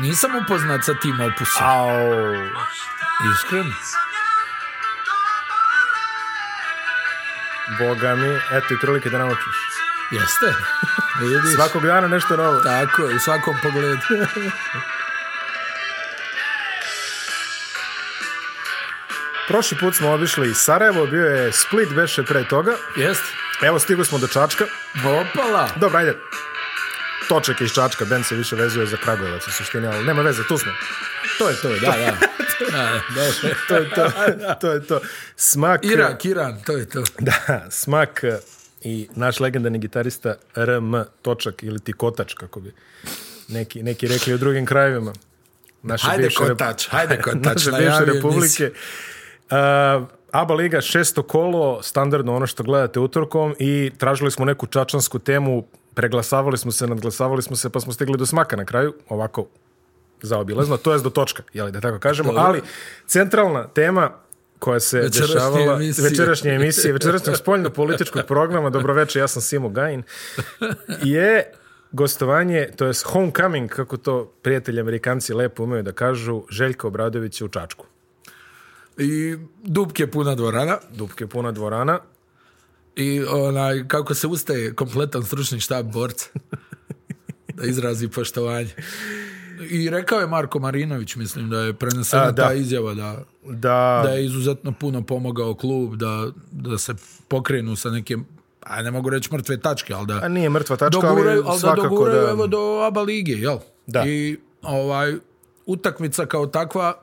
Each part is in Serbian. Nisam upoznat sa tim opusom. Au. Iskreno. Boga mi, eto i prilike da naučiš. Jeste. Vidiš? Svakog dana nešto novo. Tako je, u svakom pogledu. Prošli put smo obišli Sarajevo, bio je Split, beše pre toga. Jeste. Evo, stigu smo do Čačka. Opala. Dobro, ajde. Točak iz Čačka, Ben se više vezuje za Kragujevac u suštini, ali nema veze, tu smo. To je to, da, da. da, da. To je to, to je to. Smak, Irak, Iran, to je to. da, Smak eh, i naš legendarni gitarista RM Točak ili ti Kotač, kako bi neki, neki rekli u drugim krajevima. Naše Hajde bivše rep- Kotač, hajde Kotač, naše bivše najavio republike. Uh, Aba Liga, šesto kolo, standardno ono što gledate utorkom i tražili smo neku čačansku temu, preglasavali smo se, nadglasavali smo se, pa smo stigli do smaka na kraju, ovako zaobilazno, to je do točka, jeli, da tako kažemo, Dobro. ali centralna tema koja se Večerašnje dešavala emisije. večerašnje emisije, večerašnjeg spoljno-političkog programa, dobroveče, ja sam Simo Gajin, je gostovanje, to je homecoming, kako to prijatelji Amerikanci lepo umeju da kažu, Željka Obradovića u Čačku. I dubke puna dvorana. Dupke puna dvorana, I onaj, kako se ustaje kompletan stručni štab borca. Da izrazi poštovanje. I rekao je Marko Marinović, mislim da je prenesena A, da. ta izjava da, da, da je izuzetno puno pomogao klub, da, da se pokrenu sa nekim, a ne mogu reći mrtve tačke, ali da a nije mrtva tačka, doguraju, ali ali da svakako doguraju da... evo do aba lige, jel? Da. I ovaj, utakmica kao takva,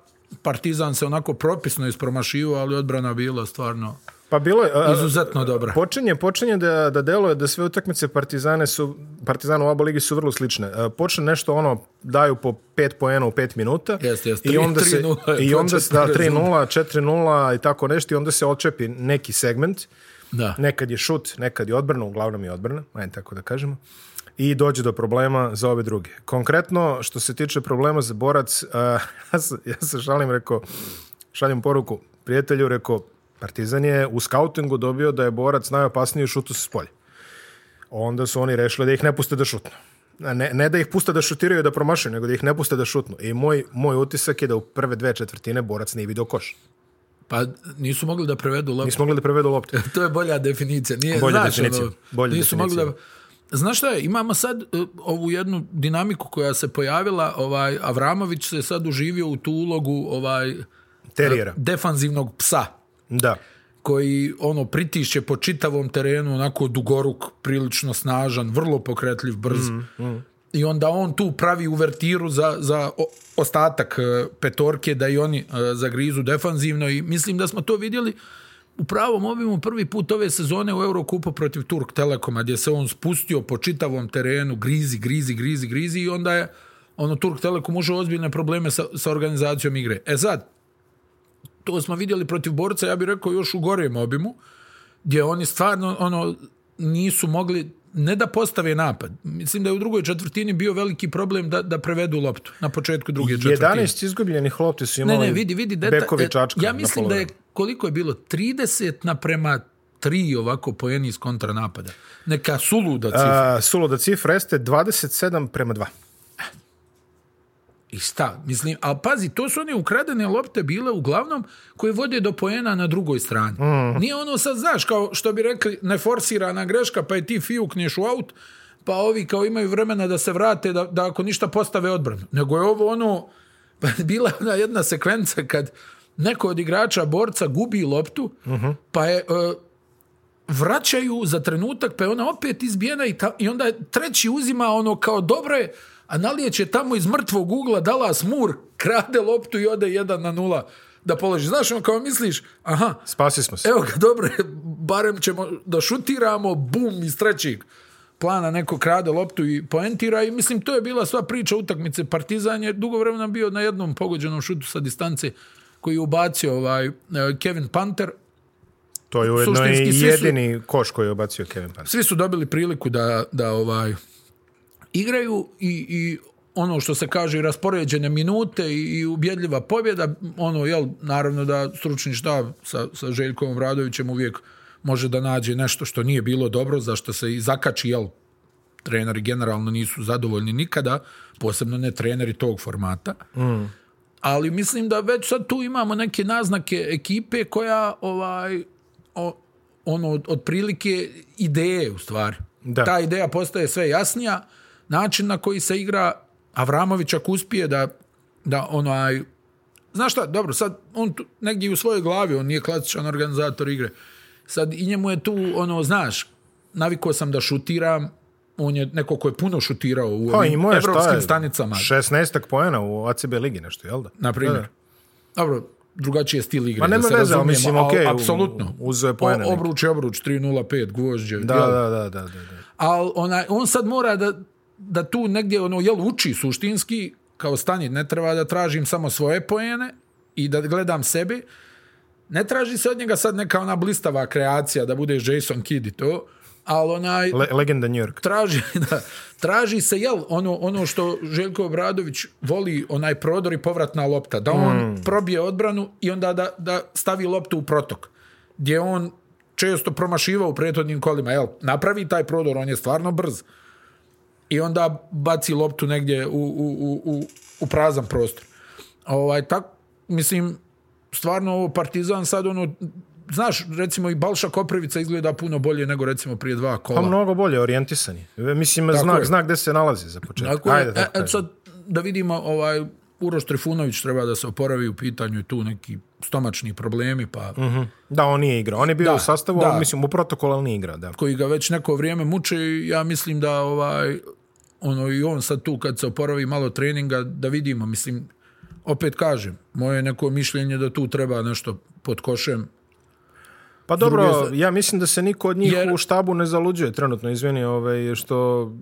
Partizan se onako propisno ispromašio, ali odbrana bila stvarno Pa bilo je... a- izuzetno dobra. Počinje, počinje da, da deluje da sve utakmice Partizane su, Partizana u oba ligi su vrlo slične. E, Počne nešto ono, daju po 5 poena u 5 minuta. Jeste, jeste. I Tri- onda se, 3:0 je i onda se, da, početni 3-0, 4-0 i tako nešto i onda se očepi neki segment. Da. Nekad je šut, nekad je odbrana, uglavnom je odbrana, ajde tako da kažemo. I dođe do problema za ove druge. Konkretno, što se tiče problema za borac, a, ja, se, ja se šalim, rekao, šaljem poruku prijatelju, rekao, Partizan je u skautingu dobio da je borac najopasniji u šutu s polja. Onda su oni rešili da ih ne puste da šutnu. A Ne, ne da ih puste da šutiraju i da promašaju, nego da ih ne puste da šutnu. I moj, moj utisak je da u prve dve četvrtine borac nije video koš. Pa nisu mogli da prevedu loptu. Nismo mogli da prevedu lopte. To je bolja definicija. Nije, Bolja znaš, definicija. ono, Bolja nisu definicija. mogli da... Znaš šta je, imamo sad e, ovu jednu dinamiku koja se pojavila, ovaj, Avramović se sad uživio u tu ulogu ovaj, Terijera. defanzivnog psa. Da. koji ono pritišće po čitavom terenu onako dugoruk, prilično snažan, vrlo pokretljiv, brz. I onda on tu pravi uvertiru za, za o- ostatak e, petorke da i oni e, zagrizu defanzivno i mislim da smo to vidjeli u pravom obimu prvi put ove sezone u Eurokupu protiv Turk Telekoma gdje se on spustio po čitavom terenu, grizi, grizi, grizi, grizi i onda je ono Turk Telekom može ozbiljne probleme sa, sa organizacijom igre. E sad, to smo vidjeli protiv borca, ja bih rekao još u gorem obimu, gdje oni stvarno ono nisu mogli ne da postave napad. Mislim da je u drugoj četvrtini bio veliki problem da, da prevedu loptu na početku druge četvrtine. 11 izgubljenih lopti su Ne, imali ne, vidi, vidi. Deta, bekovi e, Čačka. ja na mislim da je, polovremenu. koliko je bilo, 30 naprema 3 ovako pojeni iz kontranapada. Neka suluda cifra. A, suluda cifra jeste 27 prema 2. I šta? Mislim, ali pazi, to su one ukradene lopte bile uglavnom koje vode do poena na drugoj strani. Nije ono sad, znaš, kao što bi rekli, neforsirana greška, pa je ti fiukneš u aut, pa ovi kao imaju vremena da se vrate, da, da ako ništa postave odbranu. Nego je ovo ono, pa je bila ona jedna sekvenca kad neko od igrača borca gubi loptu, pa je... e, vraćaju za trenutak, pa je ona opet izbijena i, ta- i onda je treći uzima ono kao dobro je, a Naliječ je tamo iz mrtvog ugla dala smur, krade loptu i ode jedan na nula da položi. Znaš, on kao misliš, aha, Spasi smo se. evo ga, dobro je, barem ćemo da šutiramo, bum, iz trećeg plana neko krade loptu i poentira i mislim, to je bila sva priča utakmice. Partizan je dugo vremena bio na jednom pogođenom šutu sa distance koji je ubacio ovaj, eh, Kevin Panter, to je ujedno suštinski i svi su- jedini koš koji je obacio Kevin Panter. svi su dobili priliku da, da ovaj igraju i, i ono što se kaže i raspoređene minute i, i ubjedljiva pobjeda, ono jel naravno da stručni štab sa, sa Željkom Obradovićem uvijek može da nađe nešto što nije bilo dobro, zašto se i zakači jel treneri generalno nisu zadovoljni nikada, posebno ne treneri tog formata. Ali mislim da već sad tu imamo neke naznake ekipe koja ovaj o, ono od- otprilike ideje u stvari. Da. Ta ideja postaje sve jasnija, način na koji se igra Avramović ako uspije da da onaj Znaš šta, dobro, sad on tu, negdje u svojoj glavi, on nije klasičan organizator igre. Sad i njemu je tu, ono, znaš, navikao sam da šutiram, on je neko ko je puno šutirao u Pa ovim imao je šta evropskim je, stanicama, 16 pojena u ACB ligi nešto, jel da? na primjer. Da, da. Dobro, drugačiji je stil igre, Ma nema da se veze, ali razumijemo, mislim, al- okej, u- apsolutno. uzeo je poene O- neke. Obruč je obruč, 3-0-5, gvožđe. Da, jel? da, da, da, da, da. Ali onaj, on sad mora da, da tu negdje ono, jel, uči suštinski, kao stani, ne treba da tražim samo svoje pojene i da gledam sebe. Ne traži se od njega sad neka ona blistava kreacija da bude Jason Kidd i to, ali onaj, Le- legenda New Pa, York. traži, da, traži se, jel, ono, ono što Željko Obradović voli, onaj prodor i povratna lopta, da on probije odbranu i onda da, da stavi loptu u protok, gdje on često promašivao u prethodnim kolima, jel, napravi taj prodor, on je stvarno brz, i onda baci loptu negdje u, u, u, u, u prazan prostor. Ovaj, tak, mislim, stvarno ovo Partizan sad ono, znaš, recimo i Balša Koprivica izgleda puno bolje nego recimo prije dva kola. Pa mnogo bolje, orijentisan je. Mislim, znak, je. znak gde se nalazi za početak. Tako je, Ajde, e, tako e, kažem. sad da vidimo, ovaj, Uroš Trifunović treba da se oporavi u pitanju i tu neki stomačni problemi, pa Mhm. Da, on nije igrao. On je bio Da, u sastavu, da. ali mislim, u protokolu, ali nije igrao, da. koji ga već neko vrijeme muče i ja mislim da ovaj ono i on sad tu kad se oporavi malo treninga da vidimo, mislim opet kažem, moje neko mišljenje da tu treba nešto pod košem Pa dobro, druge ja mislim da se niko od njih Jer- u štabu ne zaluđuje trenutno, izvini, ovaj, što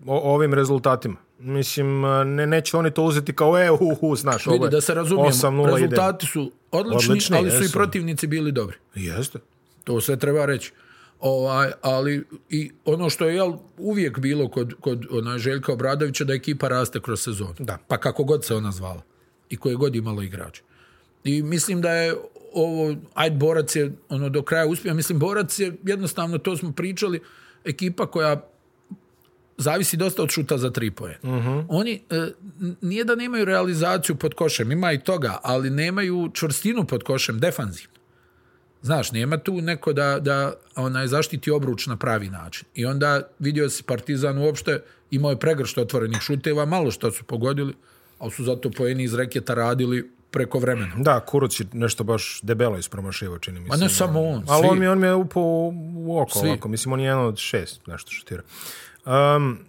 o, ovim rezultatima. Mislim, ne, neće oni to uzeti kao, e, hu, hu, znaš, ovo vidi je da se razumijemo. 8:0 ide. Rezultati su odlični, Odlični, ali su i jesu. protivnici bili dobri. Jeste. To sve treba reći. Ovaj, ali i ono što je jel, uvijek bilo kod, kod onaj Željka Obradovića da ekipa raste kroz sezonu. Da. Pa kako god se ona zvala i koje god imalo igrače. I mislim da je ovo, ajde Borac je ono do kraja uspio, mislim Borac je jednostavno, to smo pričali, ekipa koja zavisi dosta od šuta za tri poje. Oni, e, n- nije da nemaju realizaciju pod košem, ima i toga, ali nemaju čvrstinu pod košem, defanzivno. Znaš, nema tu neko da, da onaj, zaštiti obruč na pravi način. I onda vidio si Partizan uopšte, imao je pregršt otvorenih šuteva, malo što su pogodili, ali su zato poeni iz reketa radili preko vremena. Da, Kuruć je nešto baš debelo ispromašivao, čini mi se. A ne samo on, svi. Ali on mi, on mi je upao u- u oko Svi. ovako. Mislim, on je jedan od šest nešto šutira.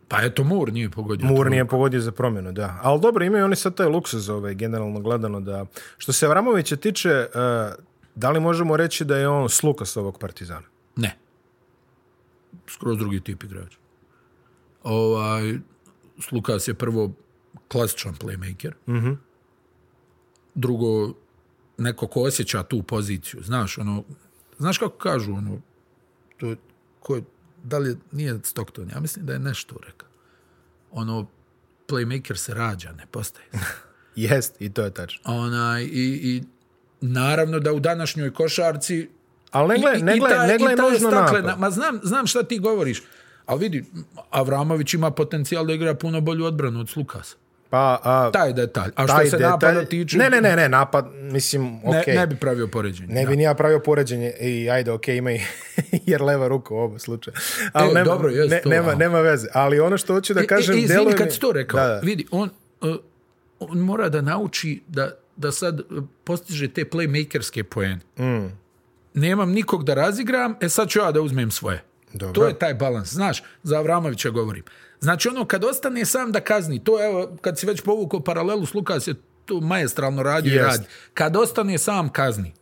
Pa eto, Mur nije pogodio. Mur nije pogodio za promjenu, da. Ali dobro, imaju oni sad taj luksuz, ovaj, generalno gledano. da Što se Avramovića tiče, e, da li možemo reći da je on slukas ovog partizana? Ne. Skroz drugi tip igrača. Ovaj, Lukas je prvo klasičan playmaker. Drugo, neko ko osjeća tu poziciju. Znaš, ono, znaš kako kažu, ono, to, je- ko, je- da li je- nije Stockton, ja mislim da je nešto rekao. Ono, playmaker se rađa, ne postaje. se. Jest, i to je tačno. Onaj, i, i naravno da u današnjoj košarci Ali ne i- gledaj, i- E, ne i gledaj, taj- ne i gledaj taj nužno staklena- napad. Ma znam, znam šta ti govoriš. Ali vidi, Avramović ima potencijal da igra puno bolju odbranu od Slukasa. Pa, a, Taj detalj. A što taj se detalj- napada tiče, Ne, ne, ne, ne, napad, mislim, ne, okej. ne bi pravio poređenje. Ne bi ni ja pravio poređenje i ajde, okej, ima i jer leva ruka u ovom slučaju. Ali E, nema, dobro, jest ne- to, nema, a. nema veze. Ali ono što hoću da kažem... e, e, izvini, deluje mi- kad si to rekao, Da, da. vidi, on, uh, on mora da nauči da, da sad uh, postiže te playmakerske poene. Mm. Nemam nikog da razigram, e sad ću ja da uzmem svoje. Dobro. To je taj balans. Znaš, za Avramovića govorim. Znači ono, kad ostane sam da kazni, to evo, kad si već povukao paralelu s Lukas je to majestralno radio i Jest. radi. Kad ostane sam kazni.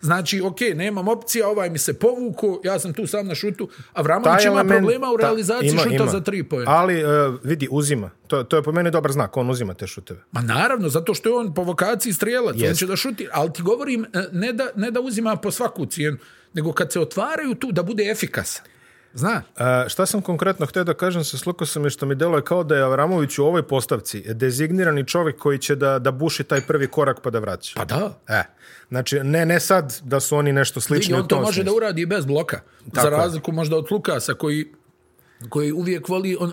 Znači, ok, nemam opcija, ovaj mi se povuku, ja sam tu sam na šutu. Avramović ima element- problema u ta- realizaciji ima, šuta ima. za tri pojena. Ali, e, vidi, uzima. To, to je po meni dobar znak, on uzima te šuteve. Ma naravno, zato što je on po vokaciji strijelac, on Jest. će da šuti, ali ti govorim, e, ne da, ne da uzima po svaku cijenu, nego kad se otvaraju tu, da bude efikasan. Znaš? E, šta sam konkretno htio da kažem sa Slukasom je što mi deluje kao da je Avramović u ovoj postavci dezignirani čovjek koji će da, da buši taj prvi korak pa da vraća. Pa da. E, znači, ne, ne sad da su oni nešto I slični u on to tom može da smislu. uradi i bez bloka. Tako za je. razliku možda od Lukasa koji koji uvijek voli, on,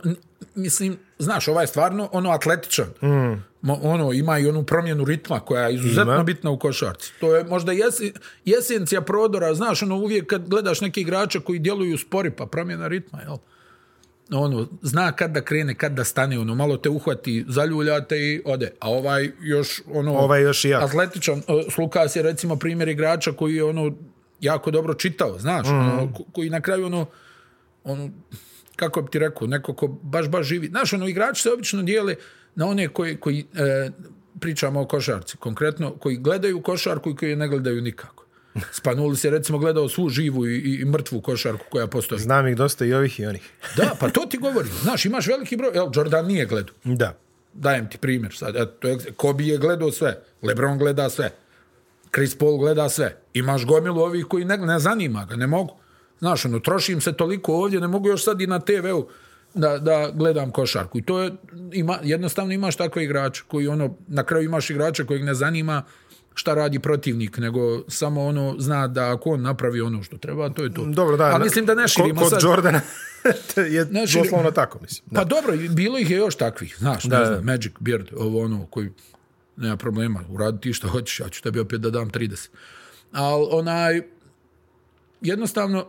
mislim, znaš, ovaj je stvarno ono atletičan. Mm. Mo- ono, ima i onu promjenu ritma koja je izuzetno Ima. bitna u košarci. To je možda jesi, jesencija prodora, znaš, ono uvijek kad gledaš neke igrače koji djeluju spori, pa promjena ritma, jel? Ono, zna kad da krene, kad da stane, ono, malo te uhvati, zaljuljate i ode. A ovaj još, ono... Ovaj je još i jak. Atletičan. E, Slukas je recimo primjer igrača koji je ono jako dobro čitao, znaš, Mhm. ono, ko- koji na kraju ono, ono, kako bi ti rekao, neko ko baš, baš živi. Znaš, ono, igrači se obično dijele na one koji, koji e, pričamo o košarci, konkretno, koji gledaju košarku i koji je ne gledaju nikako. Spanulis je recimo gledao svu živu i, i, i mrtvu košarku koja postoji. Znam ih dosta i ovih i onih. Da, pa to ti govorim. Znaš, imaš veliki broj. Jel, Jordan nije gledao Da. dajem ti primjer sad, eto, to je, Kobe je gledao sve, Lebron gleda sve, Chris Paul gleda sve, imaš gomilu ovih koji ne, ne zanima ga, ne mogu. Znaš, ono, trošim se toliko ovdje, ne mogu još sad i na TV-u da, da gledam košarku. I to je, ima, jednostavno imaš takve igrače koji ono, na kraju imaš igrača kojeg ne zanima šta radi protivnik, nego samo ono zna da ako on napravi ono što treba, to je to. Dobro, da. A na- mislim da ne kod- širimo Kod sad. Jordana je Ne širimo. doslovno tako, mislim. Da. Pa dobro, i bilo ih je još takvih, znaš, ne znam, Magic Beard, ovo ono, koji nema problema, uradi ti što hoćeš, ja ću tebi opet da dam 30. Ali onaj, jednostavno,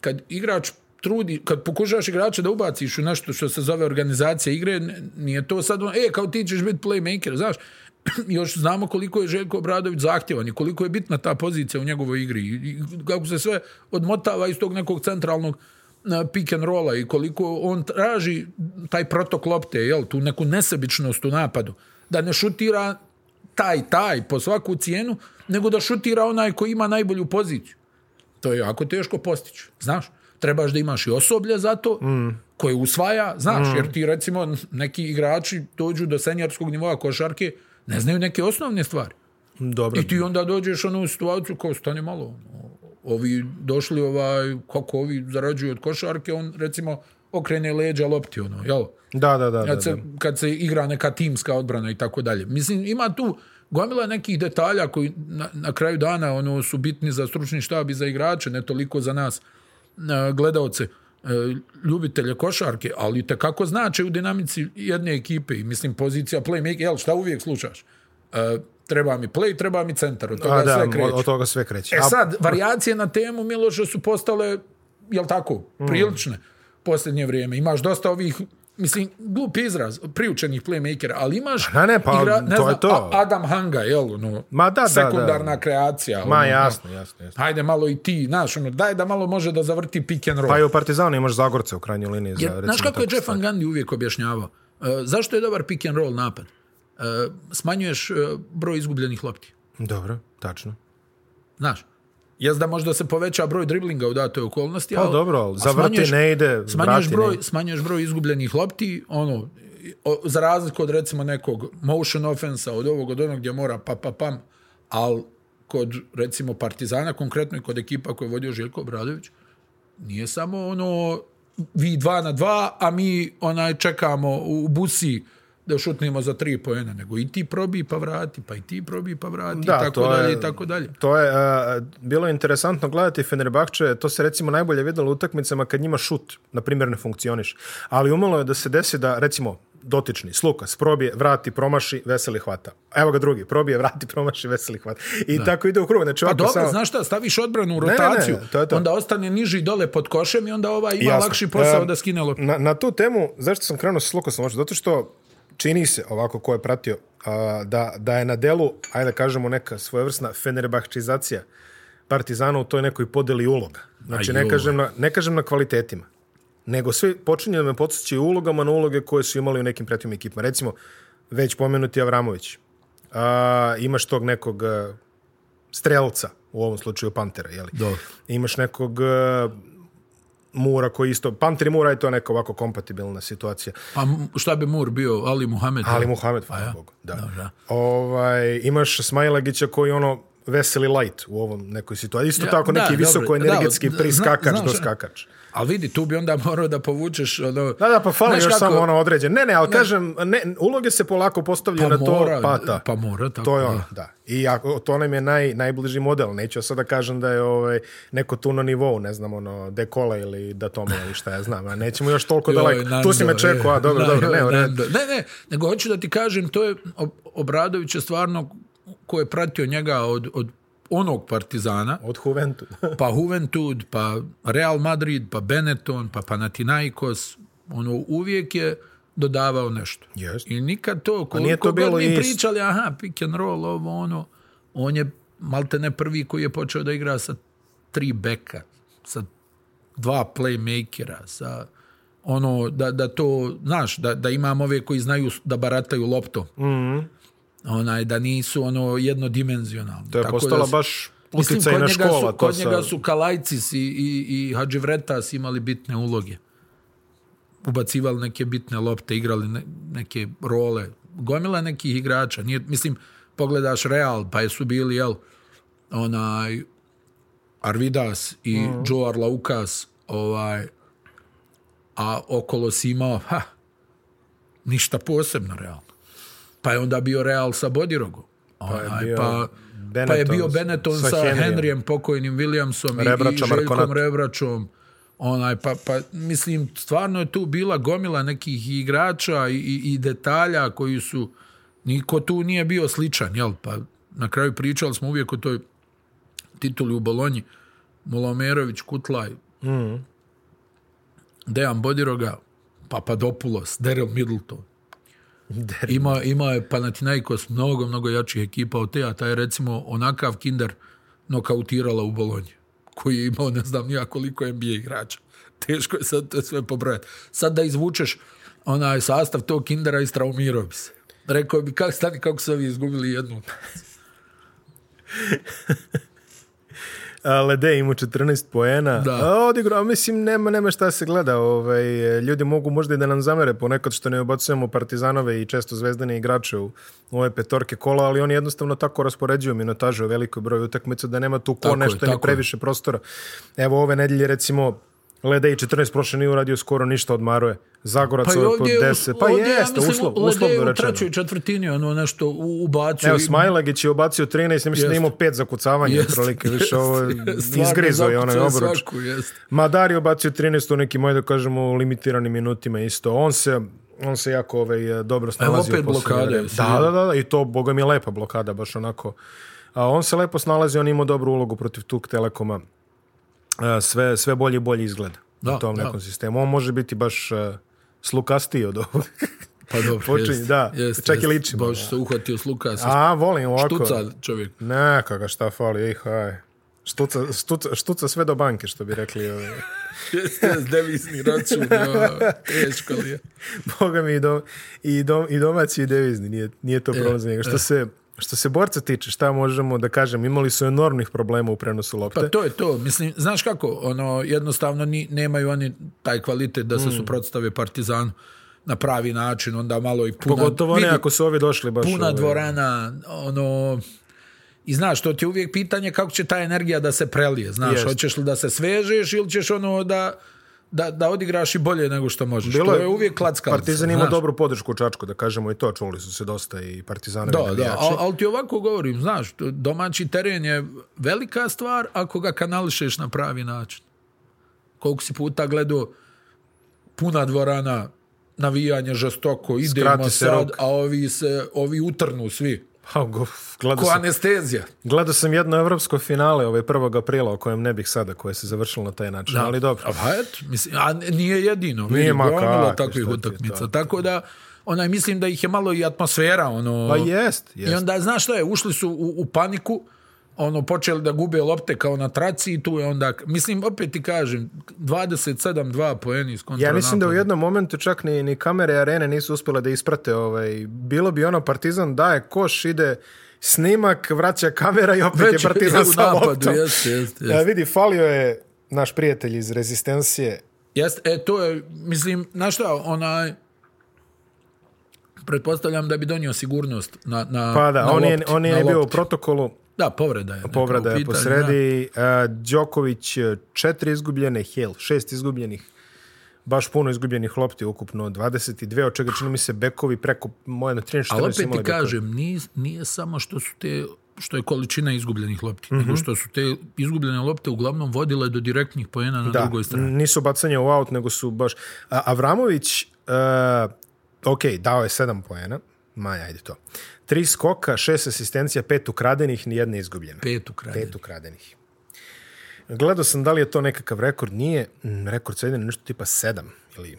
kad igrač trudi, kad pokušaš igrača da ubaciš u nešto što se zove organizacija igre, n- nije to sad, ono, e, kao ti ćeš biti playmaker, znaš, još znamo koliko je Željko Obradović zahtjevan i koliko je bitna ta pozicija u njegovoj igri i, i kako se sve odmotava iz tog nekog centralnog na pick and rolla i koliko on traži taj protok lopte, jel, tu neku nesebičnost u napadu, da ne šutira taj, taj, po svaku cijenu, nego da šutira onaj koji ima najbolju poziciju. To je jako teško postići, znaš. Trebaš da imaš i osoblje za to, koje usvaja, znaš, jer ti recimo neki igrači dođu do senjarskog nivoa košarke, ne znaju neke osnovne stvari. Dobro. I ti onda dođeš ono u situaciju kao stane malo. ono, Ovi došli ovaj, kako ovi zarađuju od košarke, on recimo okrene leđa lopti, ono, jel? Da, da, da. da, Kad se, da. kad se igra neka timska odbrana i tako dalje. Mislim, ima tu gomila nekih detalja koji na, na kraju dana ono su bitni za stručni štab i za igrače, ne toliko za nas e, gledaoce, e, ljubitelje košarke, ali te kako znače u dinamici jedne ekipe i mislim pozicija playmaker, jel šta uvijek slušaš? E, treba mi play, treba mi centar, od toga A, da, sve kreće. od- od toga sve kreće. E A- sad, varijacije na temu Miloša su postale, jel tako, Mm. prilične posljednje vrijeme. Imaš dosta ovih, mislim, glup izraz, priučenih playmakera, ali imaš... Pa ne, pa to je to. A- Adam Hanga, jel, ono, Ma da, da, sekundarna da. kreacija. ono, Ma znaš. jasno, jasno, jasno. Hajde malo i ti, znaš, ono, daj da malo može da zavrti pick and roll. Pa i u Partizanu imaš Zagorca u krajnjoj liniji. za, Jer, recimo, znaš kako je tako Jeff Van stvar. Gundy uvijek objašnjavao? E, zašto je dobar pick and roll napad? E, smanjuješ e, broj izgubljenih lopti. Dobro, tačno. Znaš, jes da možda se poveća broj driblinga u datoj okolnosti, Pa dobro, ali a zavrti smanjuješ- ne ide, smanjuješ vrati broj, ne ide. Smanjuješ broj izgubljenih lopti, ono, o- za razliku od recimo nekog motion offensa, od ovog, od onog gdje mora pa pa pam, ali kod recimo Partizana, konkretno i kod ekipa koju je vodio Željko Obradović, nije samo ono vi dva na dva, a mi onaj čekamo u busi da šutnemo za tri poena, nego i ti probi pa vrati, pa i ti probi pa vrati, Da, i tako to je- dalje, i tako dalje. To je, a, bilo je interesantno gledati Fenerbahče, to se recimo najbolje vidjelo u utakmicama kad njima šut, na primjer, ne funkcioniš. Ali umalo je da se desi da, recimo, dotični, Slukas, probije, vrati, promaši, veseli hvata. Evo ga drugi, probije, vrati, promaši, veseli hvata. I tako ide u krug. Znači, Pa ovako dobro, samo- znaš šta, staviš odbranu u ne, ne, rotaciju, to je to. onda ostane niži dole pod košem i onda ova ima Jasno. lakši posao E, da skine loptu. Na, na tu temu, zašto sam krenuo sa Lukasom uopšte? Zato što čini se, ovako ko je pratio, a, da, da je na delu, ajde da kažemo, neka svojevrsna fenerbahčizacija Partizana u toj nekoj podeli uloga. Znači, Aj, ne joj. kažem, na, ne kažem na kvalitetima, nego svi počinju da me podsjećaju ulogama na uloge koje su imali u nekim prethodnim ekipama. Recimo, već pomenuti Avramović. A, imaš tog nekog a, strelca, u ovom slučaju Pantera, jeli? Dobro. Imaš nekog a, Mura koji isto, Panter i Mura je to neka ovako kompatibilna situacija. Pa m- šta bi Mur bio, Ali Muhammed? Ali jel? Muhamed, hvala Pa, ja. Bogu. Da. Dobro, da. Ovaj, imaš Smajlagića koji ono Veseli Light u ovom nekoj situaciji. Isto Ja, tako da, neki dobro, visoko energetski da, zna- priskakač znaš, do skakač. Ali vidi, tu bi onda morao da povučeš... Ono, Da, da, pa fali Znaš još kako? samo ono određen. Ne, ne, ali kažem, ne, uloge se polako Pa postavljaju na to mora, pata. pa mora, tako To je je. ono, da. I ako, to nam je naj, najbliži model. Neću ja sada kažem da je ovaj, neko tu na nivou, ne znam, ono, dekola ili da tome ili šta ja znam. A nećemo još toliko daleko. Tu si me čekao, a dobro, dobro, ne, u redu. e, Ne, ne, nego hoću da ti kažem, to je Ob- Obradović je stvarno ko je pratio njega od, od onog Partizana, Od Juventu. pa Juventud, pa Real Madrid, pa Benetton, pa Panathinaikos, ono uvijek je dodavao nešto. Jeste. I nikad to, koliko Pa nije to to god bilo mi isto. pričali, aha, pick and roll, ovo, ono, on je malte ne prvi koji je počeo da igra sa tri beka, sa dva playmakera, sa ono, da, da to, znaš, da, da imam ove koji znaju da barataju loptom. Mhm. Onaj, da nisu ono jednodimenzionalni. To je Tako da postala se- baš Mislim, kod uticajna njega škola. su, to kod sa- njega su Kalajcis i, i, i Hadživretas imali bitne uloge. Ubacivali neke bitne lopte, igrali ne, neke role. Gomila nekih igrača. Nije, mislim, pogledaš Real, pa su bili, jel, onaj, Arvidas i Mhm. mm. Joe Arlaukas, ovaj, a okolo si imao, ha, ništa posebno Real. Pa je onda bio Real sa Bodirogom. Onaj, bio pa, pa je Benetton bio Benetton sa sa, Henryjem. Henryjem, pokojnim Williamsom i, i Rebrača, Željkom Markonato. Rebračom. Onaj, pa, pa, mislim, stvarno je tu bila gomila nekih igrača i, i, i detalja koji su... Niko tu nije bio sličan, jel? Pa na kraju pričali smo uvijek o toj tituli u Bolonji. Molomerović, Kutlaj, Dejan Bodiroga, Papadopoulos, Daryl Middleton. Ima, ima je Panathinaikos mnogo, mnogo jačih ekipa od te, a ta je recimo onakav kinder nokautirala u Bolonji, koji je imao ne znam nija koliko NBA igrača. Teško je sad to sve pobrojati. Sad da izvučeš onaj sastav tog kindera istraumirao bi se. Rekao bi, kak, stani, kako su ovi izgubili jednu Pa utakmicu." A, Lede ima 14 poena. Da. A, odigrao, mislim, nema, nema šta se gleda. Ovaj, ljudi mogu možda i da nam zamere ponekad što ne ubacujemo partizanove i često zvezdane igrače u, u ove petorke kola, ali oni jednostavno tako raspoređuju minutažu u velikoj broju utakmica da nema tu ko Tako je, nešto ni tako je. previše prostora. Evo ove nedelje recimo Ledej 14 prošle nije uradio skoro ništa odmaruje. Zagorac Pa i ovaj po ovdje, je us- 10. Pa ovdje ja jeste, mislim, uslov, Lede uslovno je u rečeno. trećoj četvrtini ono nešto u- ubacio. Evo, i- Smajlagić je obacio 13, ja mislim da Jeste. je imao pet zakucavanja, Jeste, otprilike, više jeste, ovo je jeste, stvarno izgrizo je onaj zakucao obruč. svaku, jeste. Madar je obacio 13 u nekim, ajde da kažemo, limitiranim minutima isto. On se on se jako ovaj, dobro snalazi. opet u posljednje blokada vreme. je, Da, da, da, da, i to, boga mi, lepa blokada, baš onako. A, on se lepo snalazi, on ima dobru ulogu protiv Tuk Telekoma. A, sve, sve bolje i bolje izgleda Da, u tom da. nekom sistemu. On može biti baš a, slukastiji od ovog. Pa dobro, Počinje, jest, da, jest, čak i jest. ličimo, Baš da. se uhvatio s Lukasa. A, volim ovako. Štuca čovjek. Neka ga šta fali, ej, haj. Štuca, štuca, štuca sve do banke, što bi rekli. Ovaj. Jeste, devizni račun, ja, teško li je. Boga mi i, dom, i, dom, i domaći i devizni, nije, nije E, to problem za njega. Što se, što se borca tiče, šta možemo da kažem, imali su enormnih problema u prenosu lopte. Pa to je to, mislim, znaš kako, ono, jednostavno ni, nemaju oni taj kvalitet da Mm. se suprotstave Partizanu na pravi način, onda malo i puna... Pogotovo ne vidi, ako su ovi došli baš... Puna ovaj, dvorana, ono... I znaš, to ti je uvijek pitanje kako će ta energija da se prelije, znaš, Jest. hoćeš li da se svežeš ili ćeš ono da, da, da odigraš i bolje nego što možeš. Bilo to je- je uvijek klackalica. Partizan ima znaš. dobru podršku u Čačku, da kažemo i to, čuli su se dosta i partizanovi Da, da, navijači. ali al ti ovako govorim, znaš, to- domaći teren je velika stvar ako ga kanališeš na pravi način. Koliko si puta gledao puna dvorana, navijanje žestoko, idemo Skrati se sad, rok. a ovi, se, ovi utrnu svi. Pa, gof, gledao Ko sam, anestezija. gledao sam jedno evropsko finale ovaj 1. aprila, o kojem ne bih sada, koje se završilo na taj način, ali dobro. A pa eto, mislim, a nije jedino. Nije ma gomila kakvi, takvih šta ti, utakmica. da. Tako da, onaj, mislim da ih je malo i atmosfera, ono... Pa jest, jest. I onda, znaš šta je, ušli su u, u paniku, ono, počeli da gube lopte kao na traci i tu je onda, mislim, opet ti kažem, 27-2 poeni iz kontra Ja mislim da u jednom momentu čak ni, ni kamere arene nisu uspjele da isprate. Ovaj. Bilo bi ono Partizan daje koš, ide snimak, vraća kamera i opet Već je je Partizan u sa napadu, loptom. jeste, jeste, jeste. Ja, vidi, falio je naš prijatelj iz rezistencije. Jeste, e, to je, mislim, znaš šta, onaj, pretpostavljam da bi donio sigurnost na, na Pa da, na on, je, lopti, Pa on je na bio u lopti. protokolu Da, povreda je. neka Povreda u je pitanju, po da. sredi. E, Đoković e, četiri izgubljene, Hale šest izgubljenih. Baš puno izgubljenih lopti ukupno, 22, od čega čini mi se bekovi preko moje na 13-14 Ali opet imali ti bekova. kažem, nije, nije samo što su te što je količina izgubljenih lopti, Mhm. nego što su te izgubljene lopte uglavnom vodile do direktnih poena na drugoj strani. Nisu bacanje u aut, nego su baš... A, Avramović, uh, ok, dao je sedam poena, maj, ajde to. Tri skoka, šest asistencija, pet ukradenih, nijedna izgubljena. Pet ukradenih. Pet ukradenih. Gledao sam da li je to nekakav rekord, nije mm, rekord sve ide na nešto tipa sedam ili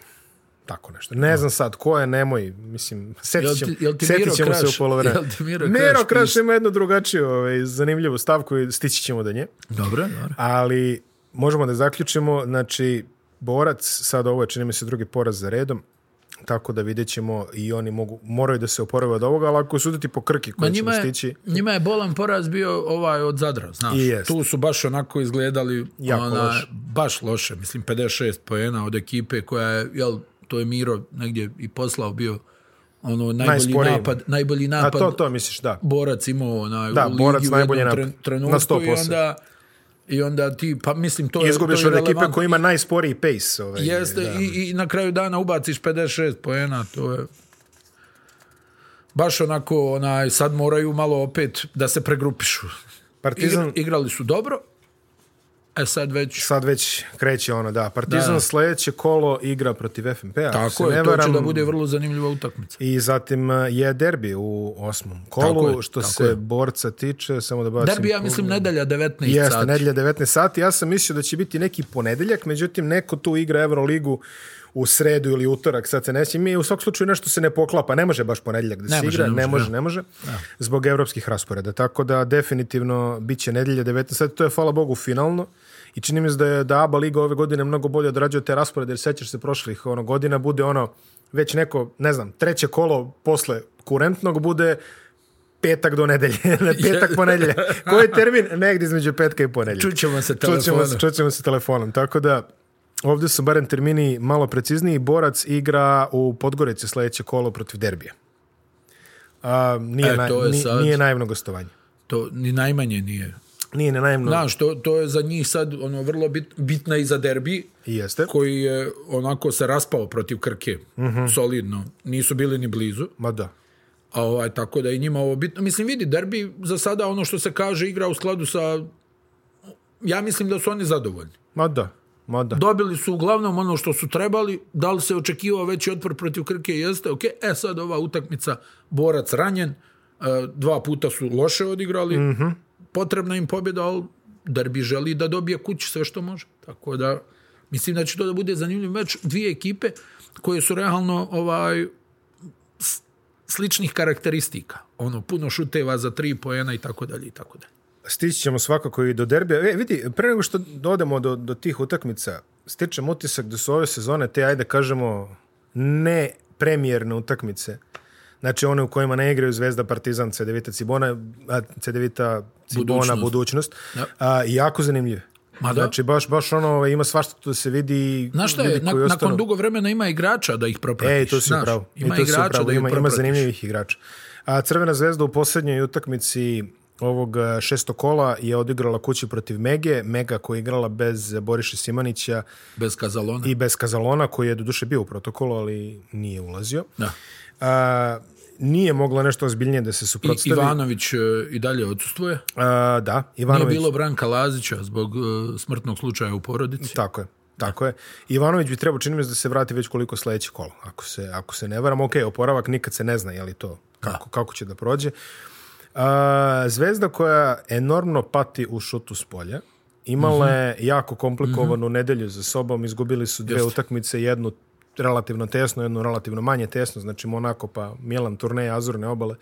tako nešto. Ne znam sad ko je, nemoj, mislim, Jel setit ti- ćemo, jel ti setit Miro ćemo se u Kraš- polovremenu. jel ti Miro Kraš Miro Kraš piše? ima jednu drugačiju, ovaj, zanimljivu stavku i stići ćemo do nje. Dobro, dobro. Ali možemo da zaključimo, znači, borac, sad ovo je čini mi se drugi poraz za redom, tako da vidjet ćemo i oni mogu, moraju da se oporave od ovoga, ali ako suditi po krki Ma koji ćemo njima je, stići, njima je bolan poraz bio ovaj od Zadra, znaš. I jest. Tu su baš onako izgledali Jako onaj, loše. baš loše. Mislim, 56 poena od ekipe koja je, jel, to je Miro negdje i poslao bio ono najbolji Najsporiji. napad, najbolji a napad to, to misliš, da. borac imao onaj, Da, u ligi borac u najbolje jednom napad. tren- Na trenutku 100%. i onda, i onda ti, pa mislim, to je, to Izgubiš je od ekipe relevantno. koja ima najsporiji pace. Ovaj, Jeste, da. i, i na kraju dana ubaciš 56 poena, to je baš onako, onaj, sad moraju malo opet da se pregrupišu. Partizan, Igra, igrali su dobro, e sad već, sad već kreće ono, da. Partizan Da. sljedeće kolo igra protiv FNP. -a, ako se tako ne je, to će varam. da bude vrlo zanimljiva utakmica. I zatim eh, je derbi u osmom Tako kolu, je, što tako se je. borca tiče, samo da bacim... Derbi, ja pogled. mislim, nedelja 19 Jeste, sati. nedelja 19 sati. Ja sam mislio da će biti neki ponedeljak, međutim neko tu igra Euroligu u sredu ili utorak, sad se neće. Mi u svakom slučaju nešto se ne poklapa, ne može baš ponedeljak da se Ne može, igra, ne ne može, može, ne može, zbog evropskih rasporeda. Tako da definitivno bit će nedelja 19 sati, to je hvala Bogu finalno. I čini mi se da je da ABA liga ove godine mnogo bolje odrađuje te rasporede, jer sećaš se prošlih ono, godina, bude ono već neko, ne znam, treće kolo posle kurentnog bude petak do nedelje, ne, petak ponedeljak. Koji je termin? Negdje između petka i ponedeljka. Čućemo se Čućemo se, telefonom. čućemo se telefonom. Tako da, ovdje su barem termini malo precizniji. Borac igra u Podgorici sljedeće kolo protiv derbija. A, nije, E, naj- to je ni- sad- nije naivno gostovanje. To ni najmanje nije. Nije ne naivno. Znaš, to, to je za njih sad ono vrlo bit, bitna i za derbi, I Jeste. Mhm. koji je onako se raspao protiv Krke, solidno. Nisu bili ni blizu. Ma da. A ovaj, tako da i njima ovo bitno. Mislim, vidi, derbi za sada ono što se kaže igra u skladu sa... Ja mislim da su oni zadovoljni. Ma da. Ma da. Dobili su uglavnom ono što su trebali, da li se očekivao veći otpor protiv Krke, jeste, ok, e sad ova utakmica, borac ranjen, e, dva puta su loše odigrali, potrebna im pobjeda, ali derbi želi da dobije kući sve što može. Tako da, mislim da će to da bude zanimljiv meč, dvije ekipe koje su realno ovaj s- sličnih karakteristika. Ono, puno šuteva za tri poena i tako dalje i tako dalje. Stići ćemo svakako i do derbija. E, vidi, pre nego što dodemo do, do tih utakmica, stičem utisak da su ove sezone te, ajde kažemo, ne premijerne utakmice. Znači one u kojima ne igraju Zvezda, Partizan, Cedevita, Cibona, a, Cedevita, Cibona, Budućnost. Budućnost. A, jako zanimljive. Ma da. Znači baš, baš ono, ovaj, ima svašta tu da se vidi. Znaš šta je, ljudi na, koji ostanu- nakon dugo vremena ima igrača da ih propratiš. E, to si znaš. upravo. Ima I to si igrača upravo. da ih ima, ima propratiš. zanimljivih igrača. A Crvena zvezda u posljednjoj utakmici ovog e, šestog kola je odigrala kući protiv Mege. Mega koja je igrala bez e, Boriša Simanića Bez Kazalona. i bez Kazalona koji je doduše bio u protokolu, ali nije ulazio. Da. A, nije mogla nešto ozbiljnije da se I, suprotstavi. Ivanović e, i dalje odsustuje. A, da, Nije Ivanović. bilo Branka Lazića zbog e, smrtnog slučaja u porodici. Tako je. Tako je. Ivanović bi trebao čini mi se da se vrati već koliko sledeće kolo. Ako se, ako se ne varam, ok, oporavak nikad se ne zna je li to kako, kako će da prođe. A, zvezda koja enormno pati u šutu s polja, imala je jako komplikovanu nedelju za sobom, izgubili su dve utakmice, jednu relativno tesno, jednu relativno manje tesno, znači Monako pa Milan turneje Azurne obale.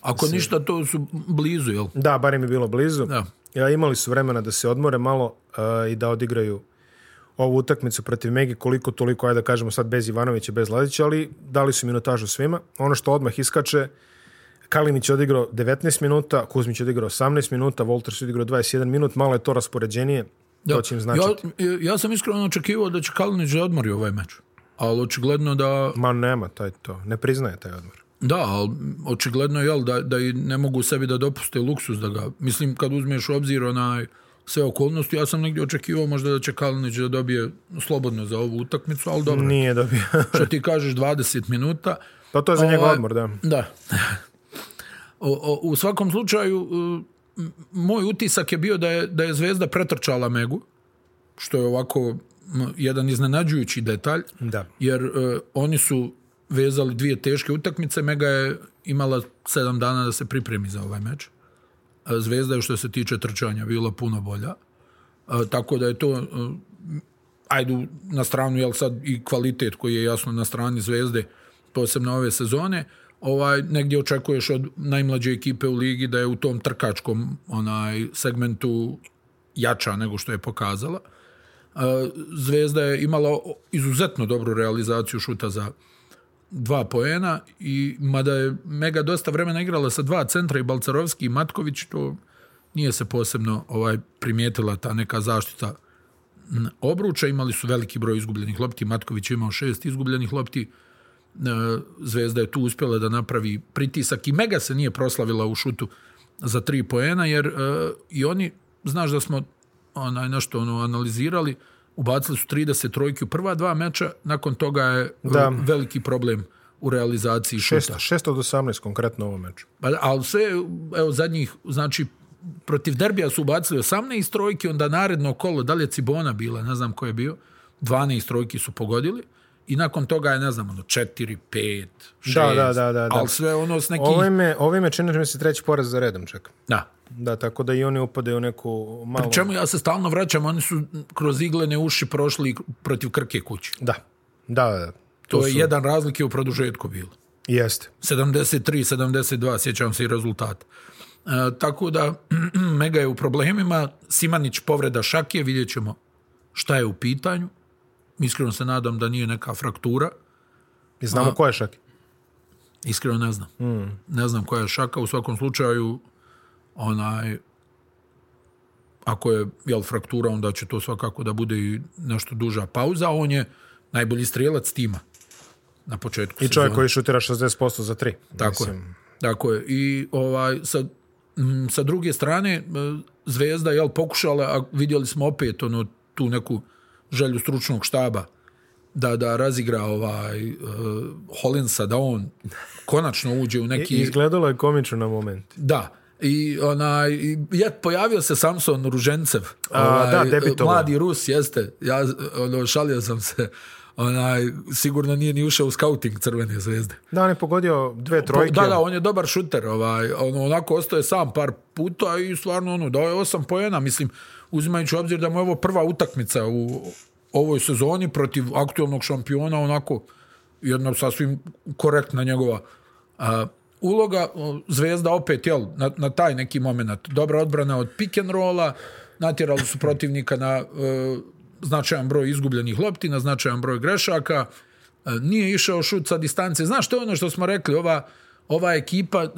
Ako ništa, to su blizu, jel? Da, barem je bilo blizu. Da. Ja, imali su vremena da se odmore malo e, i da odigraju ovu utakmicu protiv Megi koliko toliko, ajde da kažemo sad bez Ivanovića, bez Lazića, ali dali su minutažu svima. Ono što odmah iskače, Kalinić je odigrao 19 minuta, Kuzmić je odigrao 18 minuta, Volters je odigrao 21 minut, malo je to raspoređenije, to će im značiti. Ja, ja sam iskreno očekivao da će Kalinić da odmori ovaj meč. Ali očigledno da... Ma nema, taj to, ne priznaje taj odmor. Da, ali očigledno je da, da i ne mogu sebi da dopuste luksus da ga... Mislim, kad uzmeš u obzir onaj sve okolnosti, ja sam negdje očekivao možda da će Kalinić da dobije slobodno za ovu utakmicu, ali dobro. Nije dobio. Što ti kažeš, 20 minuta. Pa to je za njegov Ovaj, odmor, da. Da. O- o- u svakom slučaju, m, moj utisak je bio da je, da je Zvezda pretrčala Megu, što je ovako m, jedan iznenađujući detalj, Da. jer e, oni su vezali dvije teške utakmice, Mega je imala sedam dana da se pripremi za ovaj meč. A Zvezda je što se tiče trčanja bila puno bolja. E, tako da je to e, ajdu na stranu jel sad i kvalitet koji je jasno na strani Zvezde posebno ove sezone ovaj negdje očekuješ od najmlađe ekipe u ligi da je u tom trkačkom onaj segmentu jača nego što je pokazala. E, Zvezda je imala o- izuzetno dobru realizaciju šuta za dva poena i mada je Mega dosta vremena igrala sa dva centra i Balcarovski i Matković, to nije se posebno ovaj primijetila ta neka zaštita n- obruča, imali su veliki broj izgubljenih lopti, Matković je imao šest izgubljenih lopti, E, Zvezda je tu uspjela da napravi pritisak i Mega se nije proslavila u šutu za tri poena, jer e, i oni, znaš da smo onaj nešto ono analizirali, ubacili su 30 trojki u prva dva meča, nakon toga je e, Da. veliki problem u realizaciji Šest, šuta. šest od 18 konkretno u ovom meču. Pa, ali sve, evo, zadnjih, znači, protiv derbija su ubacili 18 trojki, onda naredno kolo, da li je Cibona bila, ne znam ko je bio, 12 trojki su pogodili i nakon toga je, ne znam, ono, 4, 5, 6, Da, da, da, da, da. ali sve ono s nekim... Ovime, ovime čini mi se treći poraz za redom čak. Da. Da, tako da i oni upadaju u neku malu... Pri Čemu ja se stalno vraćam, oni su kroz iglene uši prošli protiv Krke kući. Da, da, da. To, je jedan razlike u produžetku bilo. Jeste. 73, 72, sjećam se i rezultat. E, tako da, Mega je u problemima, Simanić povreda šake, vidjet ćemo šta je u pitanju. Iskreno se nadam da nije neka fraktura, I znamo ko je Šaki. iskreno ne znam. Hmm. Ne znam koja je šaka, u svakom slučaju, onaj, ako je jel, fraktura, onda će to svakako da bude i nešto duža pauza. On je najbolji strijelac tima na početku I čovjek koji šutira 60% za tri. Tako je. Tako je. I ovaj, sa, mm, sa druge strane, e, Zvezda je pokušala, a vidjeli smo opet ono, tu neku želju stručnog štaba da, da razigra ovaj, e, Holinsa, da on konačno uđe u neki... I, izgledalo je komično na moment. Da. I onaj, i je, pojavio se Samson Ružencev. ovaj, A, da, debitovao. Mladi Rus, jeste. Ja, ono, šalio sam se. Onaj, sigurno nije ni ušao u scouting Crvene zvezde. Da, on je pogodio dve trojke. Da, da, on je dobar šuter, ovaj, ono, onako ostaje sam par puta i stvarno ono, dao je osam pojena, mislim, uzimajući u obzir da mu je ovo prva utakmica u ovoj sezoni protiv aktualnog šampiona, onako jedna sasvim korektna njegova a, uloga, o, zvezda opet, jel, na, na taj neki moment, dobra odbrana od pick and rolla, natjerali su protivnika na e, značajan broj izgubljenih lopti, na značajan broj grešaka, E, nije išao šut sa distance. Znaš, to je ono što smo rekli, ova, ova ekipa, e,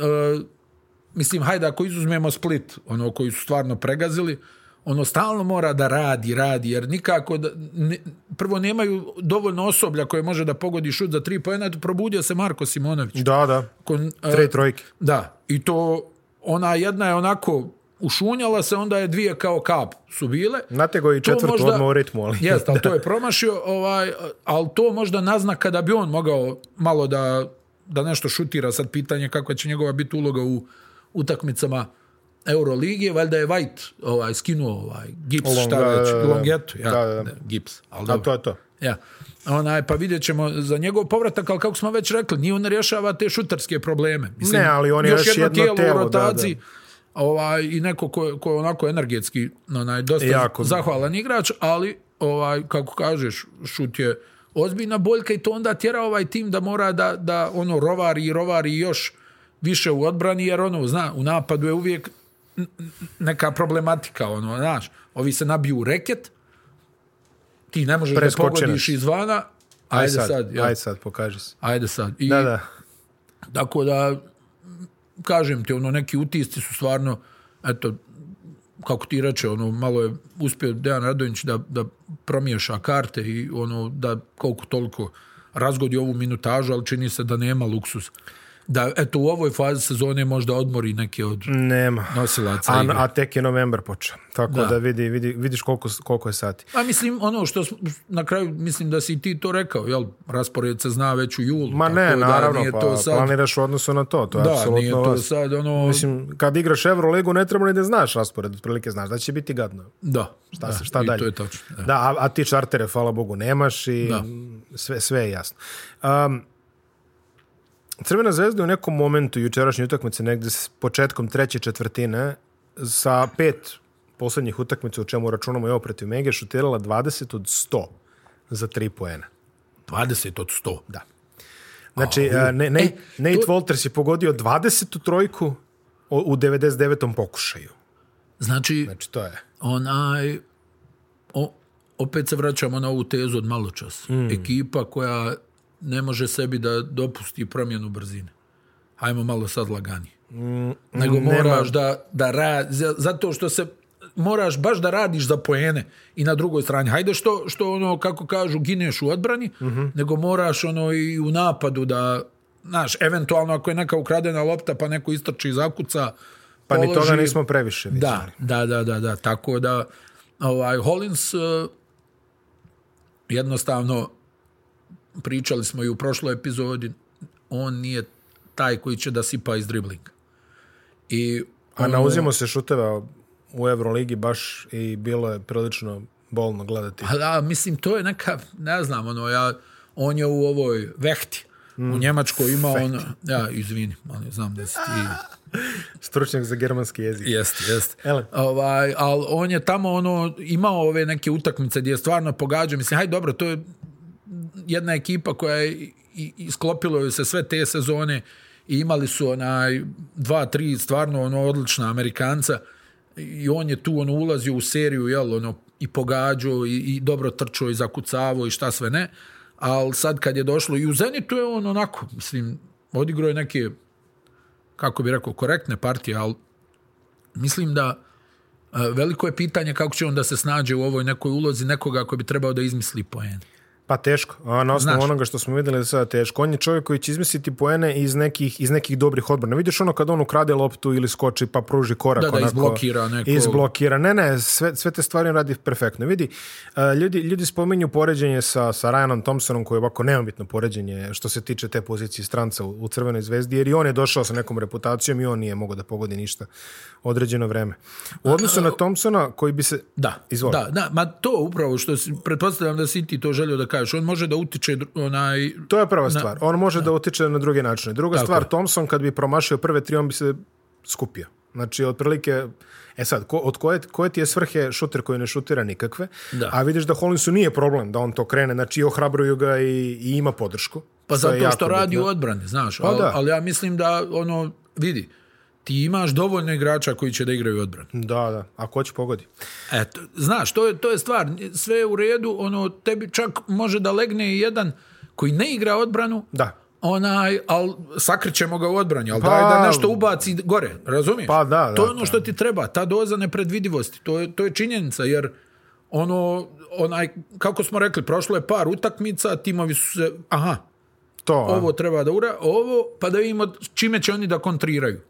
mislim, hajde, ako izuzmemo Split, ono koji su stvarno pregazili, ono stalno mora da radi, radi, jer nikako, da, ne- prvo nemaju dovoljno osoblja koje može da pogodi šut za tri pojena, eto, probudio se Marko Simonović. Da, da. Kon, e, Tre trojke. da, i to ona jedna je onako ušunjala se, onda je dvije kao kap su bile. Natego i To četvrtu možda- odmah u ritmu, ali... Jeste, ali to je promašio, ovaj, ali to možda naznaka da bi on mogao malo da, da nešto šutira. Sad pitanje kakva će njegova biti uloga u utakmicama Euroligije, valjda je White ovaj, skinuo ovaj, gips, Long- šta da, već, da, da, da. longetu, ja, Da, da, da. ne, gips, ali A dobro. to je to. Ja. Onaj, pa vidjet ćemo za njegov povratak, ali kako smo već rekli, nije on rješava te šutarske probleme. Mislim, Ne, ali on je još jedno telo, da, u rotaciji Ovaj, i neko ko, ko je onako energetski onaj, dosta Jako. zahvalan igrač, ali ovaj, kako kažeš, šut je ozbiljna boljka i to onda tjera ovaj tim da mora da, da ono rovari i rovari još više u odbrani, jer ono, zna, u napadu je uvijek n- n- neka problematika, ono, znaš, ovi se nabiju u reket, ti ne možeš da Preskočena. pogodiš izvana, Aj ajde sad, jel? aj sad, pokaži se. ajde sad. I, Da, da. Tako da, m, kažem ti, ono, neki utisci su stvarno, eto, kako ti reče, ono, malo je uspio Dejan Radonjić da, da promiješa karte i ono, da koliko toliko razgodi ovu minutažu, ali čini se da nema luksus da eto u ovoj fazi sezone možda odmori neke od Nema. nosilaca A, igre. a tek je novembar počeo. Tako da, Da. vidi, vidi, vidiš koliko, koliko je sati. A mislim, ono što smo- na kraju, mislim da si i ti to rekao, jel? Raspored se zna već u julu. Ma ne, tako da naravno, nije pa to sad, planiraš u odnosu na to. To je Da, apsolutno nije to vas- sad ono... Mislim, kad igraš Euroligu ne treba ni da znaš raspored, otprilike znaš da će biti gadno. da, Šta, da, se, šta E, i dalje? to je tačno. Da. Da, a, a ti čartere, hvala Bogu, nemaš i Da. sve, sve je jasno. Um, Crvena zvezda je u nekom momentu jučerašnje utakmice, negde s početkom treće četvrtine, sa pet poslednjih utakmica, u čemu računamo i ovo protiv Mege, šutirala 20 od 100 za tri poena. 20 od 100. Da. Znači, a, ne, ne, E, Nate to- Walters je pogodio 20 trojku o- u 99. pokušaju. Znači, Znači, to je... onaj... O, opet se vraćamo na ovu tezu od malo čas. Mm. Ekipa koja ne može sebi da dopusti promjenu brzine. Hajmo malo sad laganije. Mm, Nego moraš da, da ra, za- zato što se moraš baš da radiš za poene i na drugoj strani. Hajde što, što ono, kako kažu, gineš u odbrani, Mhm. nego moraš ono i u napadu da, znaš, eventualno ako je neka ukradena lopta pa neko istrči i zakuca, Pa ni položi- toga nismo previše vidjeli. Da, da, da, da, da. Tako da, ovaj, Hollins, eh, jednostavno, pričali smo i u prošloj epizodi, on nije taj koji će da sipa iz driblinga. I A nauzimo se šuteva u Euroligi baš i bilo je prilično bolno gledati. Pa da, mislim, to je neka, ne znam, ono, ja, on je u ovoj vehti. U Njemačkoj ima on... Ja, izvini, ali znam da si ti... Stručnjak za germanski jezik. Jeste, jeste. Ele. Ovaj, ali on je tamo ono, imao ove neke utakmice gdje je stvarno pogađao. Mislim, hajde dobro, to je jedna ekipa koja je i- i- isklopilo joj se sve te sezone i imali su onaj dva, tri stvarno ono odlična Amerikanca i on je tu ono ulazio u seriju jel, ono, i pogađao i, i dobro trčao i zakucavao i šta sve ne ali sad kad je došlo i u Zenitu je on onako, mislim, odigrao je neke kako bi rekao, korektne partije, ali mislim da e, veliko je pitanje kako će on da se snađe u ovoj nekoj ulozi nekoga koji bi trebao da izmisli poen. Pa teško. A na osnovu Znaš. onoga što smo videli da sada teško. On je čovjek koji će izmisliti poene iz nekih, iz nekih dobrih odbrana. Vidiš ono kad on ukrade loptu ili skoči pa pruži korak. Da, da, onako, izblokira neko- Izblokira. Ne, ne, sve, sve te stvari on radi perfektno. Vidi, e, ljudi, ljudi spominju poređenje sa, sa Ryanom Thompsonom koji je ovako neomitno poređenje što se tiče te pozicije stranca u, u Crvenoj zvezdi jer i on je došao sa nekom reputacijom i on nije mogao da pogodi ništa određeno vreme. U odnosu na Thompsona koji bi se... Da, Izvoli. da, da, ma to upravo što si, pretpostavljam da si ti to želio da kažeš. On može da utiče dru- onaj... To je prva stvar. On može da utiče na druge načine. Druga Tako stvar, je. Thompson kad bi promašio prve tri, on bi se skupio. Znači, otprilike, e sad, ko, od koje, koje ti je svrhe šuter koji ne šutira nikakve, Da. a vidiš da Hollinsu nije problem da on to krene, znači i ohrabruju ga i, i ima podršku. Pa je zato jako što radi bitno. Pa u odbrani, znaš. al- da. Ali ja mislim da, ono, vidi, ti imaš dovoljno igrača koji će da igraju odbranu. Da, da, a ko će pogodi? Eto, znaš, to je, to je stvar, sve je u redu, ono, tebi čak može da legne i jedan koji ne igra odbranu, Da. onaj, al sakrićemo ga u odbranju, ali Pa- daj da nešto ubaci gore, razumiješ? Pa da, da, To je ono da. što ti treba, ta doza nepredvidivosti, to je, to je činjenica, jer ono, onaj, kako smo rekli, prošlo je par utakmica, timovi su se, aha, To, a? ovo treba da ura, ovo, pa da vidimo čime će oni da kontriraju.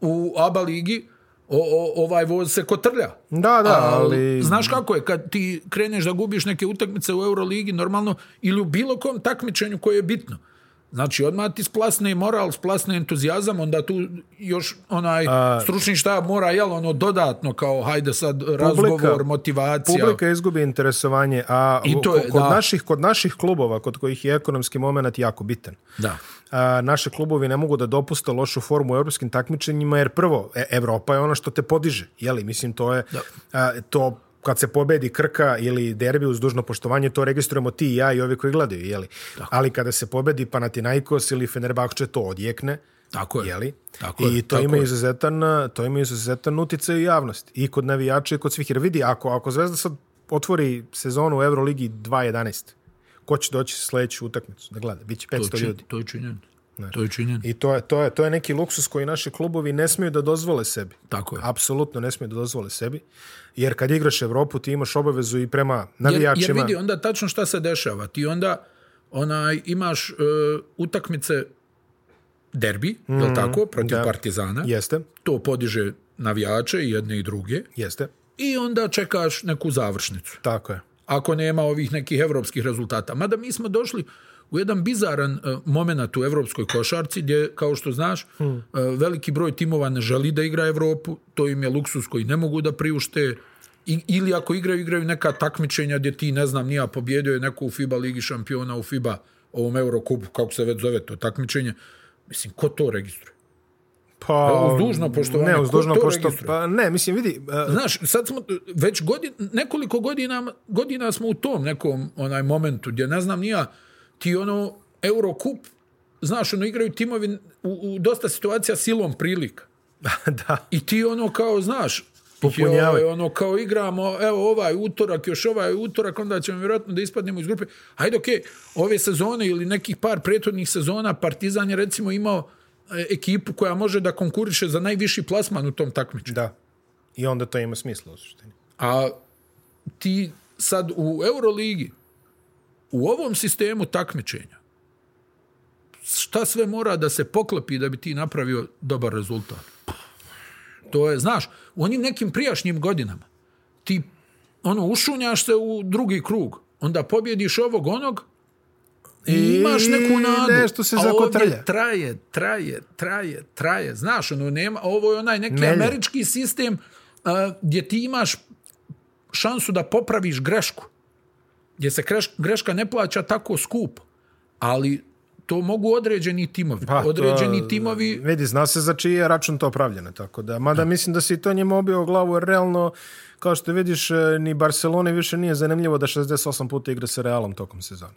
U ABA ligi o, o, ovaj voz se kotrlja. Da, da, ali... Znaš kako je, kad ti kreneš da gubiš neke utakmice u Euroligi, normalno, ili u bilo kom takmičenju koje je bitno. Znači, odmah ti splasne i moral, splasne entuzijazam, onda tu još onaj stručni štab mora, jel, ono, dodatno kao, hajde sad, razgovor, motivacija. Publika izgubi interesovanje, a I to je, kod, da. naših, kod naših klubova, kod kojih je ekonomski moment jako bitan, Da. a, naše klubovi ne mogu da dopuste lošu formu u evropskim takmičenjima, jer prvo, e, Evropa je ono što te podiže, jeli, mislim, to je, a, to kad se pobedi Krka ili derbi uz dužno poštovanje, to registrujemo ti i ja i ovi koji gledaju, jeli. Ali kada se pobedi Panathinaikos ili Fenerbahče, to odjekne, Tako je. jeli? Tako je, I to tako ima je. izuzetan, a, to ima izuzetan uticaj u javnosti i kod navijača i kod svih. Jer vidi, ako ako Zvezda sad otvori sezonu u Euroligi 2.11, ko će doći sledeću utakmicu da gleda? Biće To 500 je, ljudi. čin- to je činjen. To je činjen. I to je, to, je, to je neki luksus koji naši klubovi ne smiju da dozvole sebi. Tako je. Apsolutno ne smiju da dozvole sebi. Jer kad igraš Evropu, ti imaš obavezu i prema jer, navijačima. jer vidi onda tačno šta se dešava. Ti onda onaj, imaš e, utakmice derbi, mm, je li tako, protiv da. Partizana. Jeste, To podiže navijače i jedne i druge. jeste. I onda čekaš neku završnicu. Tako je. Ako nema ovih nekih evropskih rezultata. Mada mi smo došli u jedan bizaran e, moment u evropskoj košarci gdje, kao što znaš, e, veliki broj timova ne želi da igra Evropu, to im je luksus koji ne mogu da priušte, I, ili ako igraju, igraju neka takmičenja gdje ti, ne znam, nija pobjedio je neko u FIBA ligi šampiona, u FIBA ovom Eurokupu, kako se već zove to takmičenje. Mislim, ko to registruje? Pa, uz dužno poštovanje, Ne, ko uz dužno to poštovanje. registruje? Pa, ne, mislim, vidi, e, Znaš, sad smo, već godin, nekoliko godina, godina smo u tom nekom onaj momentu gdje ne znam nija, ti ono Eurokup, znaš, ono igraju timovi u, u dosta situacija silom prilika. da, I ti ono kao, znaš, Popunjavaj. joj, ono kao igramo, evo ovaj utorak, još ovaj utorak, onda ćemo vjerojatno da ispadnemo iz grupe. Hajde, okej, ove sezone ili nekih par prethodnih sezona Partizan je recimo imao e, ekipu koja može da konkuriše za najviši plasman u tom takmičenju. da. I onda to ima smisla u suštini. A ti sad u Euroligi, u ovom sistemu takmičenja, šta sve mora da se poklopi da bi ti napravio dobar rezultat? To je, znaš, u onim nekim prijašnjim godinama ti ono, ušunjaš se u drugi krug, onda pobjediš ovog onog i, I imaš neku nadu. nešto se A ovdje zakotrlja. traje, traje, traje, traje. Znaš, ono, nema, ovo je onaj neki Melje. američki sistem a, gdje ti imaš šansu da popraviš grešku. Gdje se greš, greška ne plaća tako skupo. Ali to mogu određeni timovi. Pa, to- određeni timovi... Vidi, zna se za čiji je račun to pravljeno, tako da. Mada mislim da se i to njima obio o glavu, jer realno, kao što vidiš, e, ni Barceloni više nije zanimljivo da 68 puta igra sa Realom tokom sezone.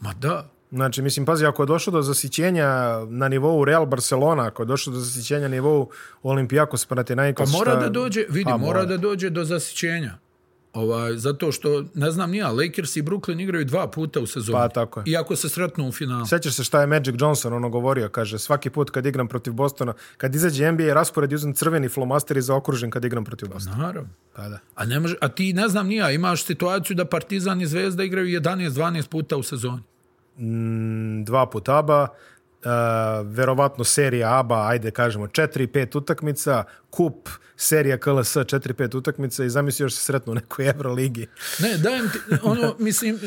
Ma da, Znači, mislim, pazi, ako je došlo do zasićenja na nivou Real Barcelona, ako je došlo do zasićenja na nivou Olimpijakos Panathinaikos, Pa mora šta- da dođe, vidi, Pa mora, da dođe do zasićenja. Ovaj, zato što, ne znam nija, Lakers i Brooklyn igraju dva puta u sezoni. Pa, tako je. Iako se sretnu u finalu. Sećaš se šta je Magic Johnson ono govorio, kaže, svaki put kad igram protiv Bostona, kad izađe NBA raspored, uzem crveni flomaster i zaokružen kad igram protiv Bostona. Naravno. Pa da. A, ne može, a ti, ne znam nija, imaš situaciju da Partizan i Zvezda igraju 11-12 puta u sezoni. Mm, dva put ABA, e, verovatno serija ABA, ajde kažemo, 4-5 utakmica, kup, serija KLS 4-5 utakmica i zamisli još se sretnu u nekoj Euroligi. Ne, dajem ti, ono, mislim,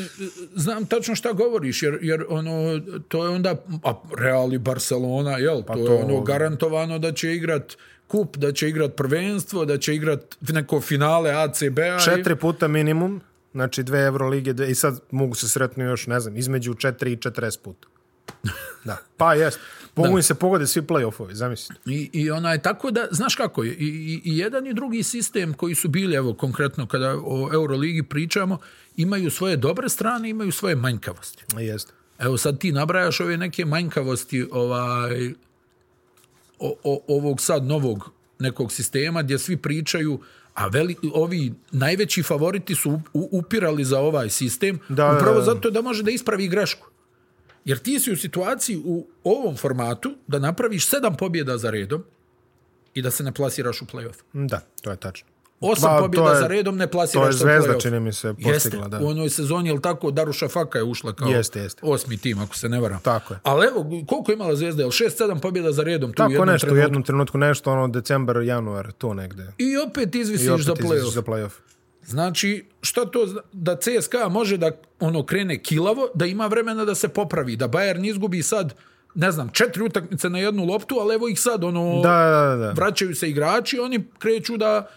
znam tačno šta govoriš, jer, jer ono, to je onda, a Real i Barcelona, jel, to, to- je ono garantovano da će igrat kup, da će igrat prvenstvo, da će igrat neko finale ACB-a. Pa i- Četiri puta minimum, znači dve Eurolige dve- i sad mogu se sretnu još, ne znam, između 4 i 40 puta. Da, pa jest. Mogu im se pogode svi play-offovi, zamisli. I, i onaj, tako da, znaš kako je, i, i, i jedan i drugi sistem koji su bili, evo, konkretno kada o Euroligi pričamo, imaju svoje dobre strane, imaju svoje manjkavosti. Jeste. Evo sad ti nabrajaš ove neke manjkavosti ovaj, o, o, ovog sad novog nekog sistema gdje svi pričaju, a veli, ovi najveći favoriti su u- u- upirali za ovaj sistem, Da, da, upravo da. zato da može da ispravi grešku. Jer ti si u situaciji u ovom formatu da napraviš sedam pobjeda za redom i da se ne plasiraš u play-off. Mm, Da, to je tačno. Osam Pa, to pobjeda je- za redom ne To je plasiraš se u play-off. zvezda, čini mi se, postigla. Jeste, da. u onoj sezoni, je li tako, Daruša Faka je ušla kao Jeste, jeste. osmi tim, ako se ne varam. Tako je. Ali evo, koliko je imala Zvezda? Je li šest, sedam pobjeda za redom? Tu u Tako jednom nešto, u trenutku? jednom trenutku nešto, ono, decembar, januar, to negde. I opet izvisiš I opet za izađeš play-off. za play-off. Znači, šta to zna- da CSKA može da ono krene kilavo, da ima vremena da se popravi, da Bayern izgubi sad, ne znam, četiri utakmice na jednu loptu, ali evo ih sad, ono, Da, da, da. da. vraćaju se igrači, oni kreću da,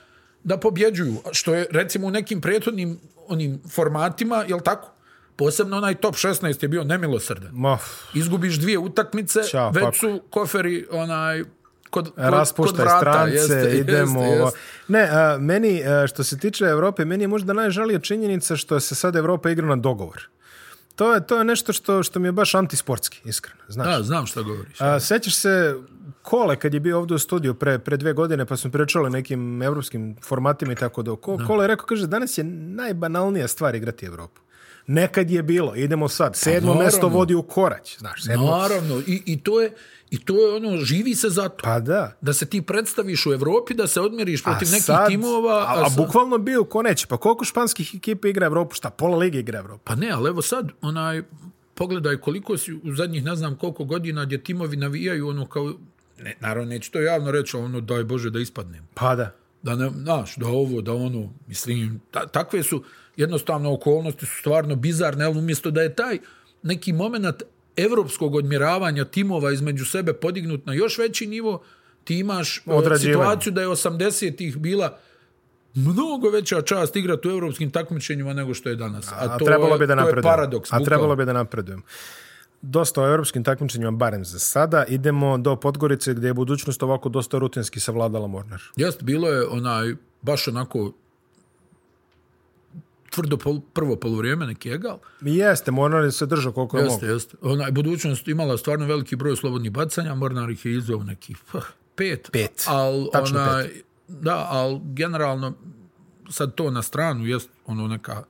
da pobjeđuju. Što je, recimo, u nekim prethodnim onim formatima, jel tako? Posebno onaj top 16 je bio nemilosrdan. Ma, Izgubiš dvije utakmice, Ćao, već pak. su koferi onaj, kod, kod, kod raspuštaj vrata. strance, jeste, idemo. Jeste, ovo. jeste. Ne, a, meni, a, što se tiče Evrope, meni je možda najžalija činjenica što se sad Evropa igra na dogovor. To je, to je nešto što, što mi je baš antisportski, iskreno. Znaš, Da, znam šta govoriš. A, sećaš se Kole kad je bio ovdje u studiju pre, pre dve godine pa smo pričali o nekim evropskim formatima i tako da. Ko, Kole je rekao, kaže, danas je najbanalnija stvar igrati Evropu. Nekad je bilo, idemo sad, sedmo Pa naravno. mesto vodi u korać, znaš, sedmo. Naravno, i, i, to je, i to je ono, živi se za to. Pa da. Da se ti predstaviš u Evropi, da se odmjeriš A protiv nekih sad- timova. a, a sad- bukvalno bio ko neće, pa koliko španskih ekipa igra Evropu, šta, pola lige igra Evropu. Pa ne, ali evo sad, onaj, pogledaj koliko si u zadnjih ne znam koliko godina gdje timovi navijaju ono kao, ne, naravno neću to javno reći, ali ono daj Bože da ispadnem. Pa da. Da ne, znaš, da ovo, da ono, mislim, ta, takve su jednostavno okolnosti su stvarno bizarne, ali umjesto da je taj neki moment evropskog odmjeravanja timova između sebe podignut na još veći nivo, ti imaš e, Odrađivanje. situaciju da je 80-ih bila mnogo veća čast igrati u evropskim takmičenjima nego što je danas. A, A to, trebalo je, bi da to je napredujem. paradoks. A trebalo bukvalno. bi da napredujem. Dosta o europskim takmičenjima, barem za sada. Idemo do Podgorice gdje je budućnost ovako dosta rutinski savladala Mornar. Jest, bilo je onaj, baš onako tvrdo pol, prvo polovrijeme neki egal. I Jeste, Mornar je se držao koliko je Jeste, mogo. jeste. Onaj, budućnost imala stvarno veliki broj slobodnih bacanja, Mornar ih je izveo nekih pah, pet. Pet. Al, Tačno onaj, pet. Da, ali generalno, sad to na stranu, jest ono neka...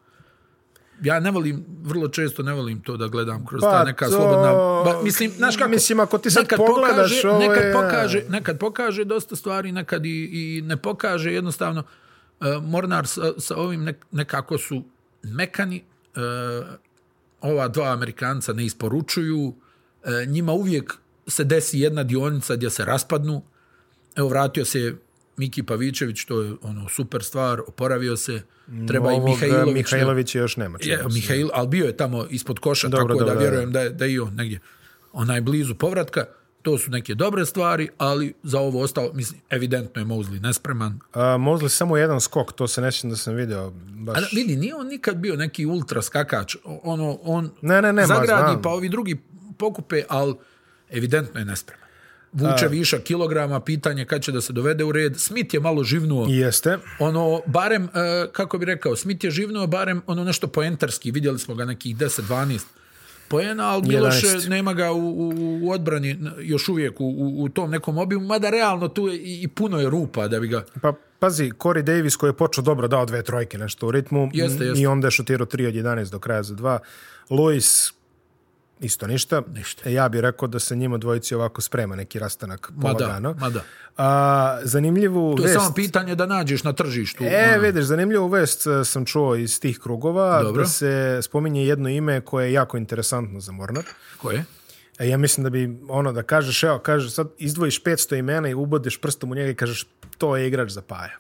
Ja ne volim, vrlo često ne volim to da gledam kroz Pa ta neka to- slobodna... Ba, mislim, znaš kako? Mislim, ako ti sad nekad pogledaš, pokaže, ovo je- Nekad pokaže, nekad pokaže dosta stvari, nekad i, i ne pokaže, jednostavno e, Mornar sa, sa ovim nek, nekako su mekani, e, ova dva Amerikanca ne isporučuju, e, njima uvijek se desi jedna dionica gdje se raspadnu, evo vratio se Miki Pavićević, to je ono super stvar, oporavio se, treba i Ovog, Mihajlović. Mihajlović je još nema. čini Je, mi se. Mihajl, ali bio je tamo ispod koša, Dobro, tako da dobro, da. vjerujem da, je, da je i on negdje onaj blizu povratka. To su neke dobre stvari, ali za ovo ostalo, mislim, evidentno je Mosley nespreman. A, Mozli samo jedan skok, to se ne sjećam da sam video. Baš... A da, vidi, nije on nikad bio neki ultra skakač. O- Ono, on Ne, ne, ne, ma, zagradi, znam. pa ovi drugi pokupe, ali evidentno je nespreman. Vuče viša kilograma, pitanje kad će da se dovede u red. Smith je malo živnuo. Jeste. ono, barem, e, kako bi rekao, Smith je živnuo barem ono nešto poentarski, vidjeli smo ga nekih 10-12 poena, ali Miloš 11. nema ga u, u, u odbrani n- još uvijek u, u, u tom nekom obimu, mada realno tu je i, i puno je rupa da bi ga... Pa pazi, Corey Davis koji je počeo dobro, dao dve trojke nešto u ritmu Jeste, m, jeste. i onda je šutirao 3 od 11 do kraja za 2. Luis isto ništa. E, Ništa. Ja bih rekao da se njima dvojici ovako sprema neki rastanak pola Ma da, dana. ma da. A, zanimljivu To je vest. samo pitanje da nađeš na tržištu. E, ono. vidiš, zanimljivu vest e, sam čuo iz tih krugova Dobro. da se spominje jedno ime koje je jako interesantno za Mornar. Ko je? E, ja mislim da bi ono da kažeš, evo, kažeš sad izdvojiš 500 imena i ubodiš prstom u njega i kažeš to je igrač za paja.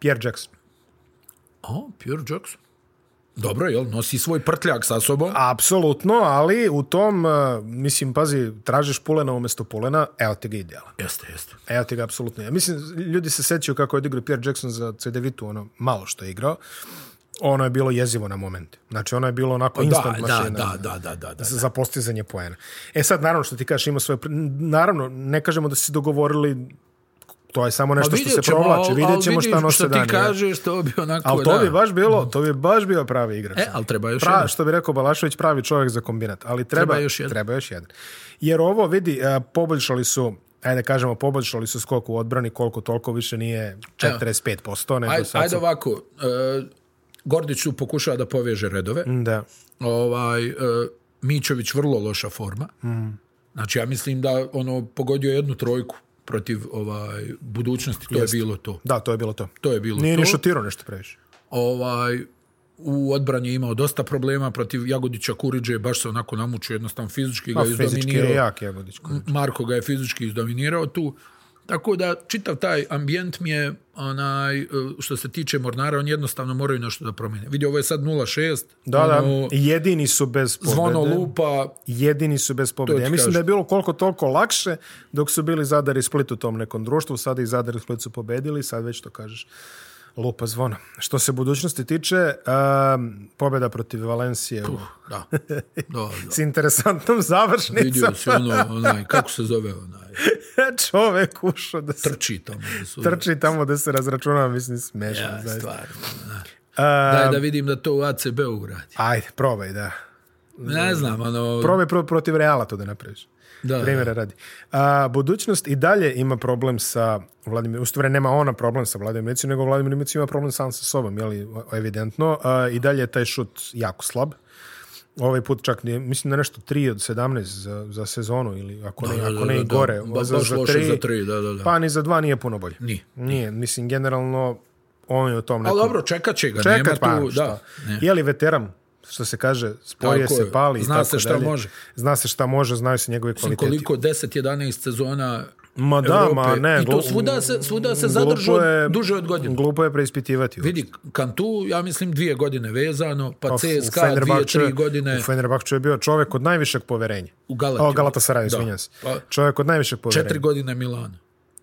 Pierre Jackson. O, Pierre Jackson. Dobro, jel, nosi svoj prtljak sa sobom. Apsolutno, ali u tom, e, mislim, pazi, tražiš pulena umjesto pulena, evo ti ga idealan. Jeste, jeste. Evo ti ga apsolutno. Ja mislim, ljudi se sećaju kako je odigrao Pierre Jackson za CDV-tu, ono, malo što je igrao. Ono je bilo jezivo na momente. Znači, ono je bilo onako Da, instant da, mašina. da, da, da, da, da. za postizanje poena. E sad, naravno što ti kažeš, ima svoje... pr- Naravno, ne kažemo da su se dogovorili, to je samo nešto A što se vidjet ćemo, provlači, al- vidjet al ćemo šta vidiš nose ti dani. da. kažeš, to bi onako... Ali to da. Mhm. bi baš bilo, to bi baš bio pravi igrač. E, ali treba još Pra, jedan. što bi rekao Balašević, pravi čovjek za kombinat. Ali treba, treba, još, jedan. treba još jedan. Jer ovo, vidi, e, poboljšali su ajde kažemo, poboljšali su skok u odbrani koliko toliko više nije 45%, nego Ajde, sad... ajde su- ovako, e, Gordić tu pokušava da poveže redove. Da. Ovaj, e, Mićović vrlo loša forma. Znači, ja mislim da ono pogodio jednu trojku protiv ovaj budućnosti. To je bilo to. da, to je bilo to. To je bilo Nije to. ni šutirao nešto previše. Ovaj, u odbrani je imao dosta problema protiv Jagodića Kuriđe. Baš se onako namučio jednostavno fizički ga Pa, fizički izdominirao. je jak Jagodić. Marko ga je fizički izdominirao tu. Tako da čitav taj ambijent mi je onaj, e, što se tiče Mornara, on jednostavno moraju nešto da promijene. Vidi, ovo je sad 0-6. Da, da, ono, jedini su bez pobjede. Zvono lupa, Jedini su bez pobjede. ti Ja mislim kažem. da je bilo koliko toliko lakše dok su bili Zadar i Split u tom nekom društvu. Sada i Zadar i Split su pobedili, sad već to kažeš. Lupa zvona. Što se budućnosti tiče, um, pobjeda protiv Valencije u- uh, da. da, s da. interesantnom završnicom. Vidio si ono, onaj, kako se zove onaj, Čovek ušao da se trči tamo. da su- trči tamo da se razračunava, mislim, smešno. Ja, zaista. stvarno. da. A, Daj da vidim da to u ACB uradi. Ajde, probaj, da. Ne znam, ono... Probaj pro, protiv Reala to da napraviš. Da. Primjera radi. A, budućnost i dalje ima problem sa Vladimir, u stvari nema ona problem sa Vladimirom Micićem, nego Vladimir Micić ima problem sam sa sobom, jeli, o- evidentno. A, I dalje je taj šut jako slab. Ovaj put čak nije, mislim da nešto 3 od 17 za, za sezonu ili ako ne, Da, da, ako ne da, i da. gore. ono, Ba- baš loše za tri, da, da, da. Pa ni za 2 nije puno bolje. Nije. Nije, mislim generalno on je u tom Ali nekom dobro, čekat će ga, Čekat, nema pa, tu... šta? Da, ne. Je li veteran? što se kaže, spoje Tako se, je. pali i Zna tako se šta dalje. može. Zna se šta može, znaju se njegove Mislim, kvaliteti. koliko 10-11 sezona Ma da, Evrope. ma ne. I to glu- svuda se, svuda se glupo zadržu je- od, duže od godine. Glupo je preispitivati. Vidi, Kantu, ja mislim, dije godine vezano, pa CSKA dvije, Fenerbahču je- tri godine, U Fenerbahču je bio čovjek od najvišeg poverenja. u Galati. O, Galatasaraju, izvinjam se. Pa, Čovjek od najvišeg poverenja. četiri godine Milano.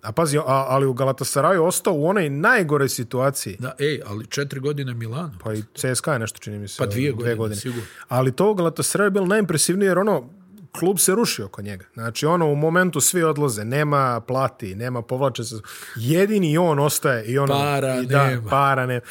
A pazi, a, ali u Galatasaraju ostao u onoj najgore situaciji. Da, ej, ali četiri godine Milano. Pa i CSKA je nešto, čini mi se. Pa dvije godine, sigurno. Ali to u Galatasaraju je bilo najimpresivnije, jer ono, klub se rušio oko njega. Znači, ono, u momentu svi odlaze, nema plati, nema povlače se. Jedini on ostaje i ono... Para i da, nema. Para nema.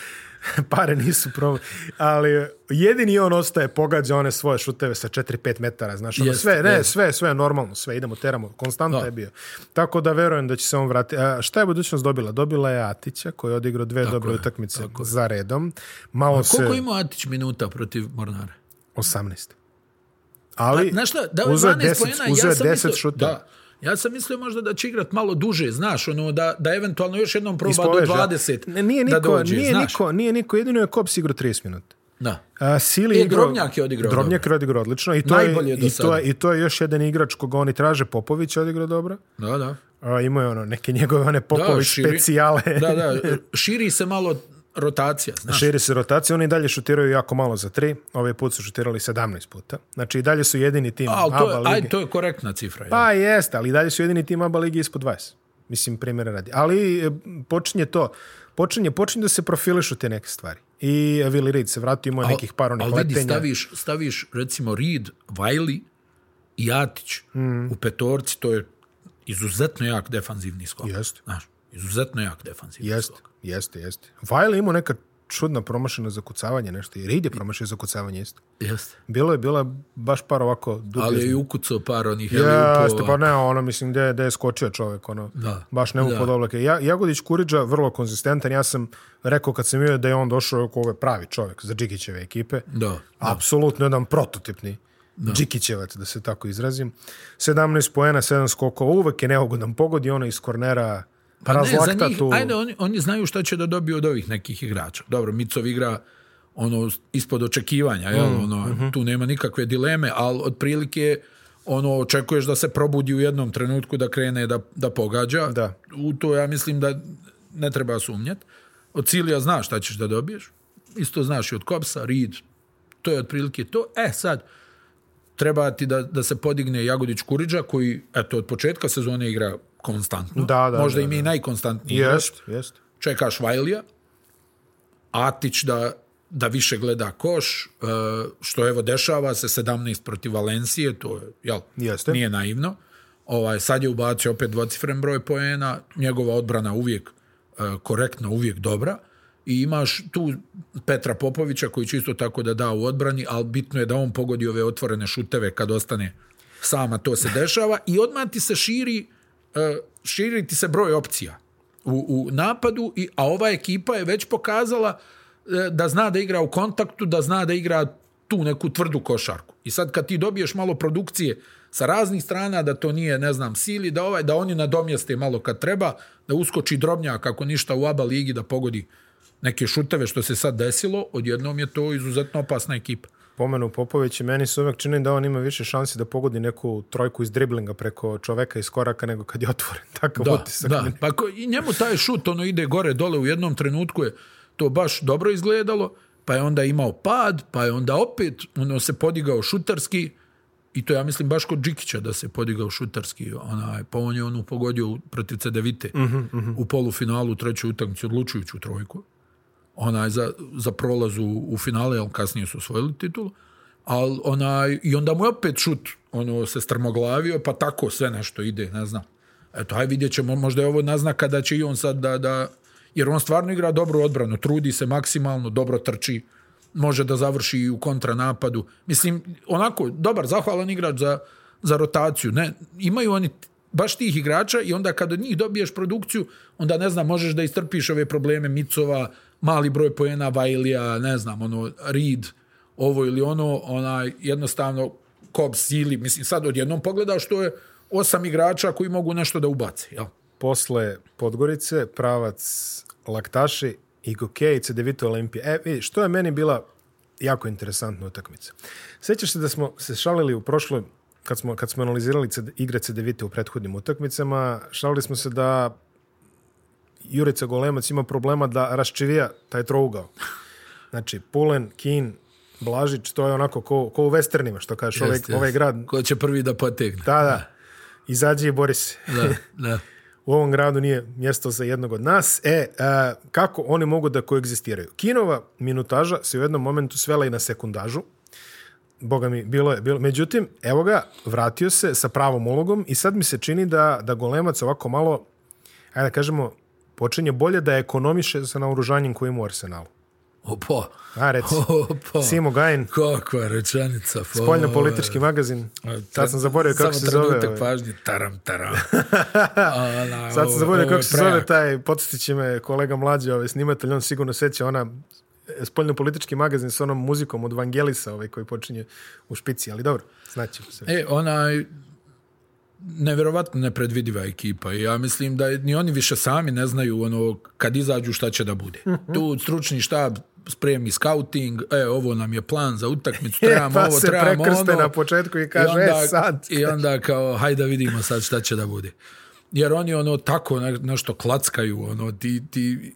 Pare nisu problem. Ali jedini on ostaje, pogađa one svoje šuteve sa 4-5 metara. Znaš, ono, Jeste, sve, ne, jeste. sve, sve je normalno, sve idemo, teramo. Konstanta je bio. Tako da verujem da će se on vratiti. A, šta je budućnost dobila? Dobila je Atića, koji je odigrao dve dobre utakmice za redom. Malo Koliko se... ima Atić minuta protiv Mornara? 18. Ali, Znaš šta, dao je uzeo 12 je 10, pojena, uzeo ja je sam 10 mislio, šuteva. da, ja sam mislio možda da će igrat malo duže, znaš, ono, da, da eventualno još jednom proba ispoveže. do 20. Ne, nije da niko, dođe, nije znaš. niko, nije niko, jedino je Kops igrao 30 minuta. Da. A, Sili E, igrao- Drobnjak je odigrao Drobnjak je odigrao odlično i to je, Najbolje do i to sada. je, i to je još jedan igrač koga oni traže. Popović je odigrao dobro. Da, da. A, imao je ono neke njegove one Popović širi- specijale. Da, da, širi se malo rotacija, znaš. Širi se rotacija, oni i dalje šutiraju jako malo za tri. Ovaj put su šutirali 17 puta. Znači i dalje su jedini tim Ali to je, ABA lige. aj, to je korektna cifra. jel? Pa jeste, ali i dalje su jedini tim ABA ligi ispod 20. Mislim, primjera radi. Ali e, počinje to, počinje, počinje da se profilišu te neke stvari. I e, Willi Reed se vratio, imao je nekih par onih Ali vidi, letenja. staviš, staviš recimo Reed, Wiley i Atić Mm. u petorci, to je izuzetno jak defanzivni skok. Jeste. Znaš, izuzetno jak defanzivni Jeste, skok. jeste, jeste. Vajla je imao neka čudna promašena zakucavanja nešto. I Reed je promašio zakucavanje isto. Jeste. Bilo je, bilo je baš par ovako dublje. Ali je i ukucao par onih Ja, helipova. jeste, pa ne, ono, mislim, gde, gde je skočio čovjek, ono, Da. baš nemu pod oblake. Ja, Jagodić Kuriđa, vrlo konzistentan, ja sam rekao kad sam vidio da je on došao oko ove pravi čovjek za Džikićeve ekipe. Da. Apsolutno jedan prototipni Džikićevac, da se tako izrazim. 17 poena, 7 skokova, uvek je neugodan pogodi, ono iz kornera pa Ne, za razlakta njih, tu. ajde, oni, oni znaju šta će da dobiju od ovih nekih igrača. Dobro, Micov igra ono ispod očekivanja, jel? Mm, ono, mhm. tu nema nikakve dileme, ali otprilike ono očekuješ da se probudi u jednom trenutku da krene da, da pogađa. Da. U to ja mislim da ne treba sumnjati. Od Cilija znaš šta ćeš da dobiješ. Isto znaš i od Kopsa, Reed. To je otprilike to. E sad, treba ti da, da se podigne Jagodić Kuriđa koji eto od početka sezone igra konstantno. Da, da, Možda da, im je i najkonstantniji. igrač. Jest, jest. Čekaš Vajlija, Atić da, da više gleda koš, e, što evo dešava se 17 protiv Valencije, to je, jel, Jeste. nije naivno. Ovaj, sad je ubacio opet dvocifren broj poena, njegova odbrana uvijek e, korektna, uvijek dobra. I imaš tu Petra Popovića koji će isto tako da da u odbrani, ali bitno je da on pogodi ove otvorene šuteve kad ostane sama, to se dešava. I odmah ti se širi, e, širi ti se broj opcija u, u napadu, i, a ova ekipa je već pokazala e, da zna da igra u kontaktu, da zna da igra tu neku tvrdu košarku. I sad kad ti dobiješ malo produkcije sa raznih strana, da to nije, ne znam, sili, da ovaj, da oni nadomjeste malo kad treba, da uskoči drobnjak ako ništa u ABA ligi da pogodi neke šuteve što se sad desilo, odjednom je to izuzetno opasna ekipa. Pomenu Popović i meni se uvek čini da on ima više šansi da pogodi neku trojku iz driblinga preko čoveka iz koraka nego kad je otvoren. Takav Da, utisak. da. Pa ko, i njemu taj šut ono ide gore dole u jednom trenutku je to baš dobro izgledalo, pa je onda imao pad, pa je onda opet ono se podigao šutarski i to ja mislim baš kod Džikića da se podigao šutarski, onaj, pa on je onu pogodio u- protiv Cedevite u polufinalu u trećoj utakmici odlučujuću trojku. Onaj za, za prolaz u, u finale, ali kasnije su osvojili titul. Al onaj, I onda mu je opet šut ono, se strmoglavio, pa tako sve nešto ide, ne znam. Eto, aj vidjet ćemo, možda je ovo naznaka da će i on sad da, da... Jer on stvarno igra dobru odbranu, trudi se maksimalno, dobro trči, može da završi i u kontranapadu. Mislim, onako, dobar, zahvalan igrač za, za rotaciju. Ne, imaju oni baš tih igrača i onda kad od njih dobiješ produkciju, onda ne znam, možeš da istrpiš ove probleme Micova, mali broj poena Vajlija, ne znam, ono, Reed, ovo ili ono, onaj, jednostavno, kob sili, mislim, sad odjednom pogledaš, to je osam igrača koji mogu nešto da ubace, Ovaj- jel? Posle Podgorice, Pravac, Laktaši i Gokejice, Devito Olimpije. E, vidi, što je meni bila jako interesantna utakmica. Sjećaš se da smo se šalili u prošloj, kad smo, kad smo analizirali CD, igre CDVite u prethodnim utakmicama, šalili smo se da Jurica Golemac ima problema da raščivija taj trougao. Znači, Pulen, Kin, Blažić, to je onako ko, ko u westernima, što kažeš, ovaj, Jest, jest. ovaj grad. Ko će prvi da potegne. Da, da, izađi i bori se. Da, da. u ovom gradu nije mjesto za jednog od nas. E, e, kako oni mogu da koegzistiraju? Kinova minutaža se u jednom momentu svela i na sekundažu. Boga mi, bilo je, bilo. Međutim, evo ga, vratio se sa pravom ulogom i sad mi se čini da, da golemac ovako malo, ajde da kažemo, počinje bolje da ekonomiše sa naoružanjem koje ima u arsenalu. Opa. A, reci, Opa. Simo Gajin, Kakva rečanica. pa, spoljno-politički magazin. Sad sam zaboravio kako se Samo zove. trenutak ovaj. pažnje, taram, taram. Ona, Sad ovo- sam zaboravio ovo je kako se prejak. zove taj, podsjetit će me kolega mlađe, ovaj snimatelj, on sigurno seća ona e, spoljno-politički magazin sa onom muzikom od Vangelisa ovaj, koji počinje u špici, ali dobro, znaćemo se. E, onaj nevjerovatno nepredvidiva ekipa i ja mislim da ni oni više sami ne znaju ono kad izađu šta će da bude. Mhm. Tu stručni štab spremi scouting, e, ovo nam je plan za utakmicu, trebamo pa ovo, se trebamo prekrste ono. na početku i kaže, e, sad. I onda kao, hajde da vidimo sad šta će da bude. Jer oni ono tako ne- nešto klackaju, ono, ti, ti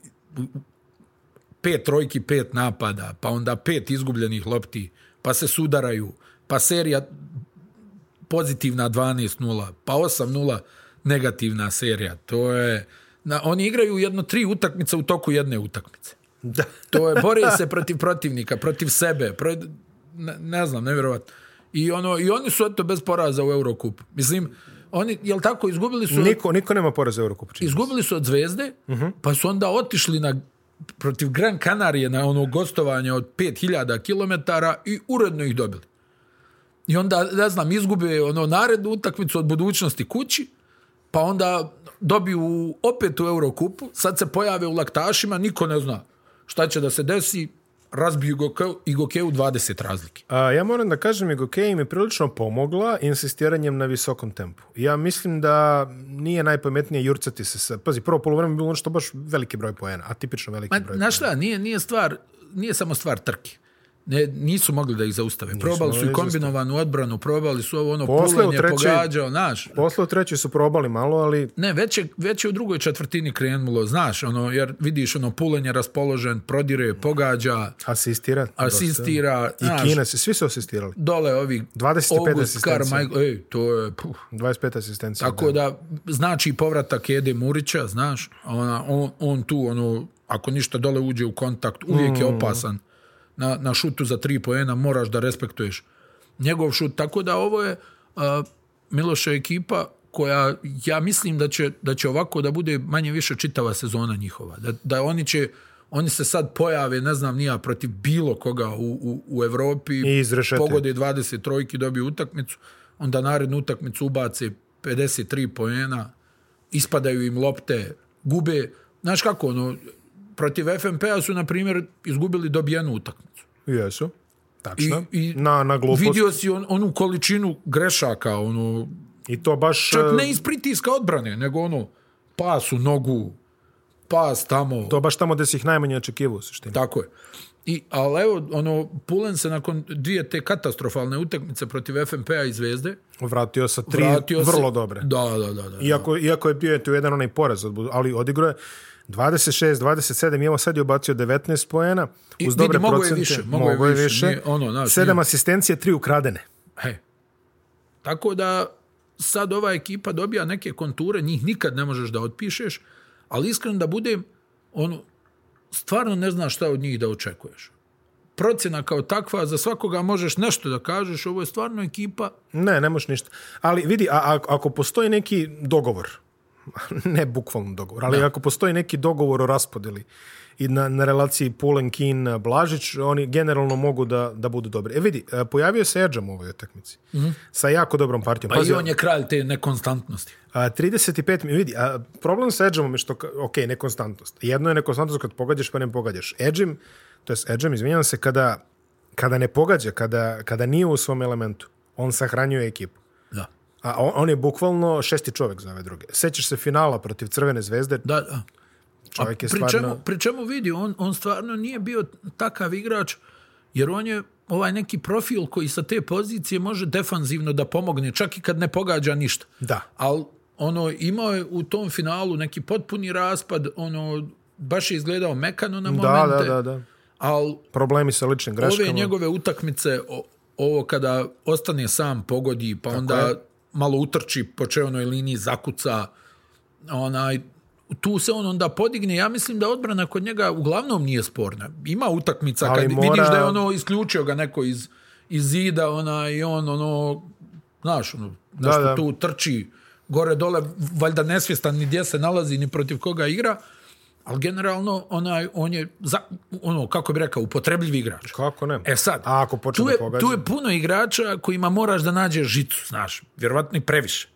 pet trojki, pet napada, pa onda pet izgubljenih lopti, pa se sudaraju, pa serija pozitivna 12-0, pa 8-0 negativna serija. To je... Na, oni igraju jedno tri utakmice u toku jedne utakmice. Da. To je, bore se protiv protivnika, protiv sebe, pro, ne, ne znam, nevjerovatno. I, ono, I oni su eto bez poraza u Eurokupu. Mislim, oni, jel tako, izgubili su, Niko, niko nema poraza u Eurokupu. čini mi se. Znači, izgubili su od Zvezde, pa su onda otišli na protiv Gran Kanarije na ono gostovanje od 5000 km i uredno ih dobili. I onda, ne znam, izgube ono narednu utakmicu od budućnosti kući, pa onda dobiju opet u Eurokupu, sad se pojave u laktašima, niko ne zna šta će da se desi, razbiju Gokeu, i Gokeju 20 razlike. A, ja moram da kažem, Igokej im je prilično pomogla insistiranjem na visokom tempu. Ja mislim da nije najpametnije jurcati se sa... Pazi, prvo polovreme je bilo nešto baš veliki broj poena, atipično veliki Ma, broj znaš šta, nije, nije stvar, nije samo stvar trke. Ne, nisu mogli da ih zaustave. probali su mogli i kombinovanu odbranu, probali su ovo ono Posle u pulenje, trećoj- pogađao, znaš. Posle u trećoj su probali malo, ali Ne, već je, već je u drugoj četvrtini krenulo, znaš, ono, jer vidiš, ono, pulenje raspoložen, prodire, pogađa, asistira. asistira, I znaš, Kina se, svi su asistirali. dole ovi 25 August, asistencija. Carmichael, ej, to je, puh, 25 asistencija. Tako da, znači i povratak Ede Murića, znaš, ona, on, on tu, ono, ako ništa dole uđe u kontakt, uvijek je opasan. Na, na šutu za tri poena moraš da respektuješ njegov šut. Tako da ovo je a, Miloša ekipa koja, ja mislim da će, da će ovako da bude manje više čitava sezona njihova. Da, da oni će, oni se sad pojave, ne znam, nija protiv bilo koga u, u, u Evropi. I izrešete. Pogode 20 trojki, dobiju utakmicu, onda narednu utakmicu ubace 53 poena, ispadaju im lopte, gube. Znaš kako, ono, protiv FNP-a su, na primjer, izgubili dobijenu utakmicu. Jesu. Tačno. I- i na, na glupost. Vidio si on, onu količinu grešaka, ono, I to baš... čak e, ne iz pritiska odbrane, nego ono, pas u nogu, pas tamo, To baš tamo gde si ih najmanje očekivao u suštini. Tako je. I, ali evo, ono, Pulen se nakon dvije te katastrofalne utakmice protiv FNP-a i Zvezde Vratio sa tri vratio se... vrlo dobre. Da, da, da. da. Iako, iako je bio je tu jedan onaj poraz, od Budu- ali odigrao je 26, 27 i evo sad je obacio 19 poena. I Uz vidi, dobre mogao je procente. više, mogao je više, nije ono, znaš, Sedam nije- asistencije, tri ukradene. He. Tako da sad ova ekipa dobija neke konture, njih nikad ne možeš da otpišeš, ali iskreno da budem, ono, stvarno ne znaš šta od njih da očekuješ. Procjena kao takva, za svakoga možeš nešto da kažeš, ovo je stvarno ekipa Ne, ne možeš ništa. Ali vidi, a, a, ako postoji neki dogovor, ne bukvalno dogovor, ali ako postoji neki dogovor o raspodeli i na, na relaciji Pulen-Kin-Blažić, oni generalno mogu da, da budu dobri. E vidi, e, pojavio se Edžam u ovoj utakmici. Sa jako dobrom partijom. Mhm. Pa i on je kralj te nekonstantnosti. A, 35 mi vidi, a, problem sa Edgeom je što, ka- ok, nekonstantnost. Jedno je nekonstantnost kad pogađaš pa ne pogađaš. Edgeom, to jest Edgeom, izvinjavam se, kada, kada ne pogađa, kada, kada nije u svom elementu, on sahranjuje ekipu. Da. A on, on je bukvalno šesti čovek za ove druge. Sećaš se finala protiv Crvene zvezde, Da, da. čovek je pri stvarno... čemu, pri čemu vidi, on, on stvarno nije bio takav igrač Jer on je ovaj neki profil koji sa te pozicije može defanzivno da pomogne, čak i kad ne pogađa ništa. Da. Ali ono, imao je u tom finalu neki potpuni raspad, ono, baš je izgledao mekano na Da, momente. da, da, da. Ali Problemi sa ličnim greškama. ove njegove utakmice, o- ovo kada ostane sam pogodi, pa onda je. malo utrči po čevnoj liniji, zakuca, onaj, tu se on onda podigne. Ja mislim da odbrana kod njega uglavnom nije sporna. Ima utakmica Ali kad mora- vidiš da je ono isključio ga neko iz, iz zida, ona, i on ono, znaš, ono, nešto da. tu trči gore dole, valjda nesvjestan ni gdje se nalazi, ni protiv koga igra, ali generalno onaj, on je, za, ono, kako bi rekao, upotrebljiv igrač. Kako ne? E sad, A ako počne tu, da je, pogađa? tu je puno igrača kojima moraš da nađeš žicu, znaš, vjerovatno i previše.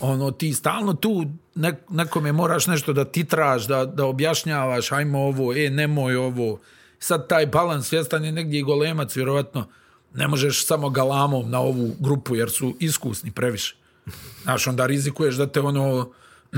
Ono, ti stalno tu ne, nekome moraš nešto da titraš, da, da objašnjavaš, ajmo ovo, e, nemoj ovo. Sad taj balans, svjestan je negdje i golemac, vjerovatno, ne možeš samo galamom na ovu grupu, jer su iskusni previše. Znaš, onda rizikuješ da te ono,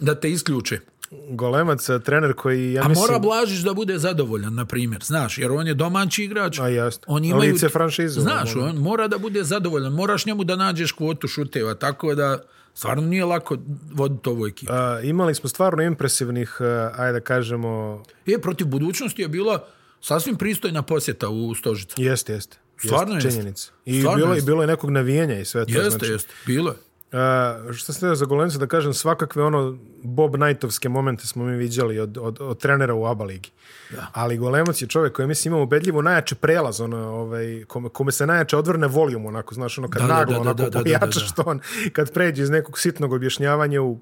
da te isključe. Golemac, e, trener koji, ja A mislim... mora Blažić da bude zadovoljan, na primjer, znaš, jer on je domaći igrač. A jasno. Oni imaju, Lice franšize. ono, Znaš, on mora da bude zadovoljan, moraš njemu da nađeš kvotu šuteva, tako da stvarno nije lako voditi ovu ekipu. A, e, imali smo stvarno impresivnih, a, ajde da kažemo... E, protiv budućnosti je bila sasvim pristojna posjeta u Stožicu. Jeste, jeste. Stvarno jeste. jeste. Činjenica. I Stvarno bilo, je, jeste. bilo je nekog navijenja i sve to. Jeste, znači, jeste, bilo je. A, što E, sam htio za Golemca da kažem, svakakve ono Bob Knightovske momente smo mi viđali od, od, od trenera u ABA ligi. Ali Golemac je čovjek koji mislim ima ubedljivo najjači prelaz, ono, ovaj, kome, kome se najjače odvrne volijum, onako, znaš, ono, kad Da, da, da, naglo da, onako da, da, da, pojača da. što on, kad pređe iz nekog sitnog objašnjavanja u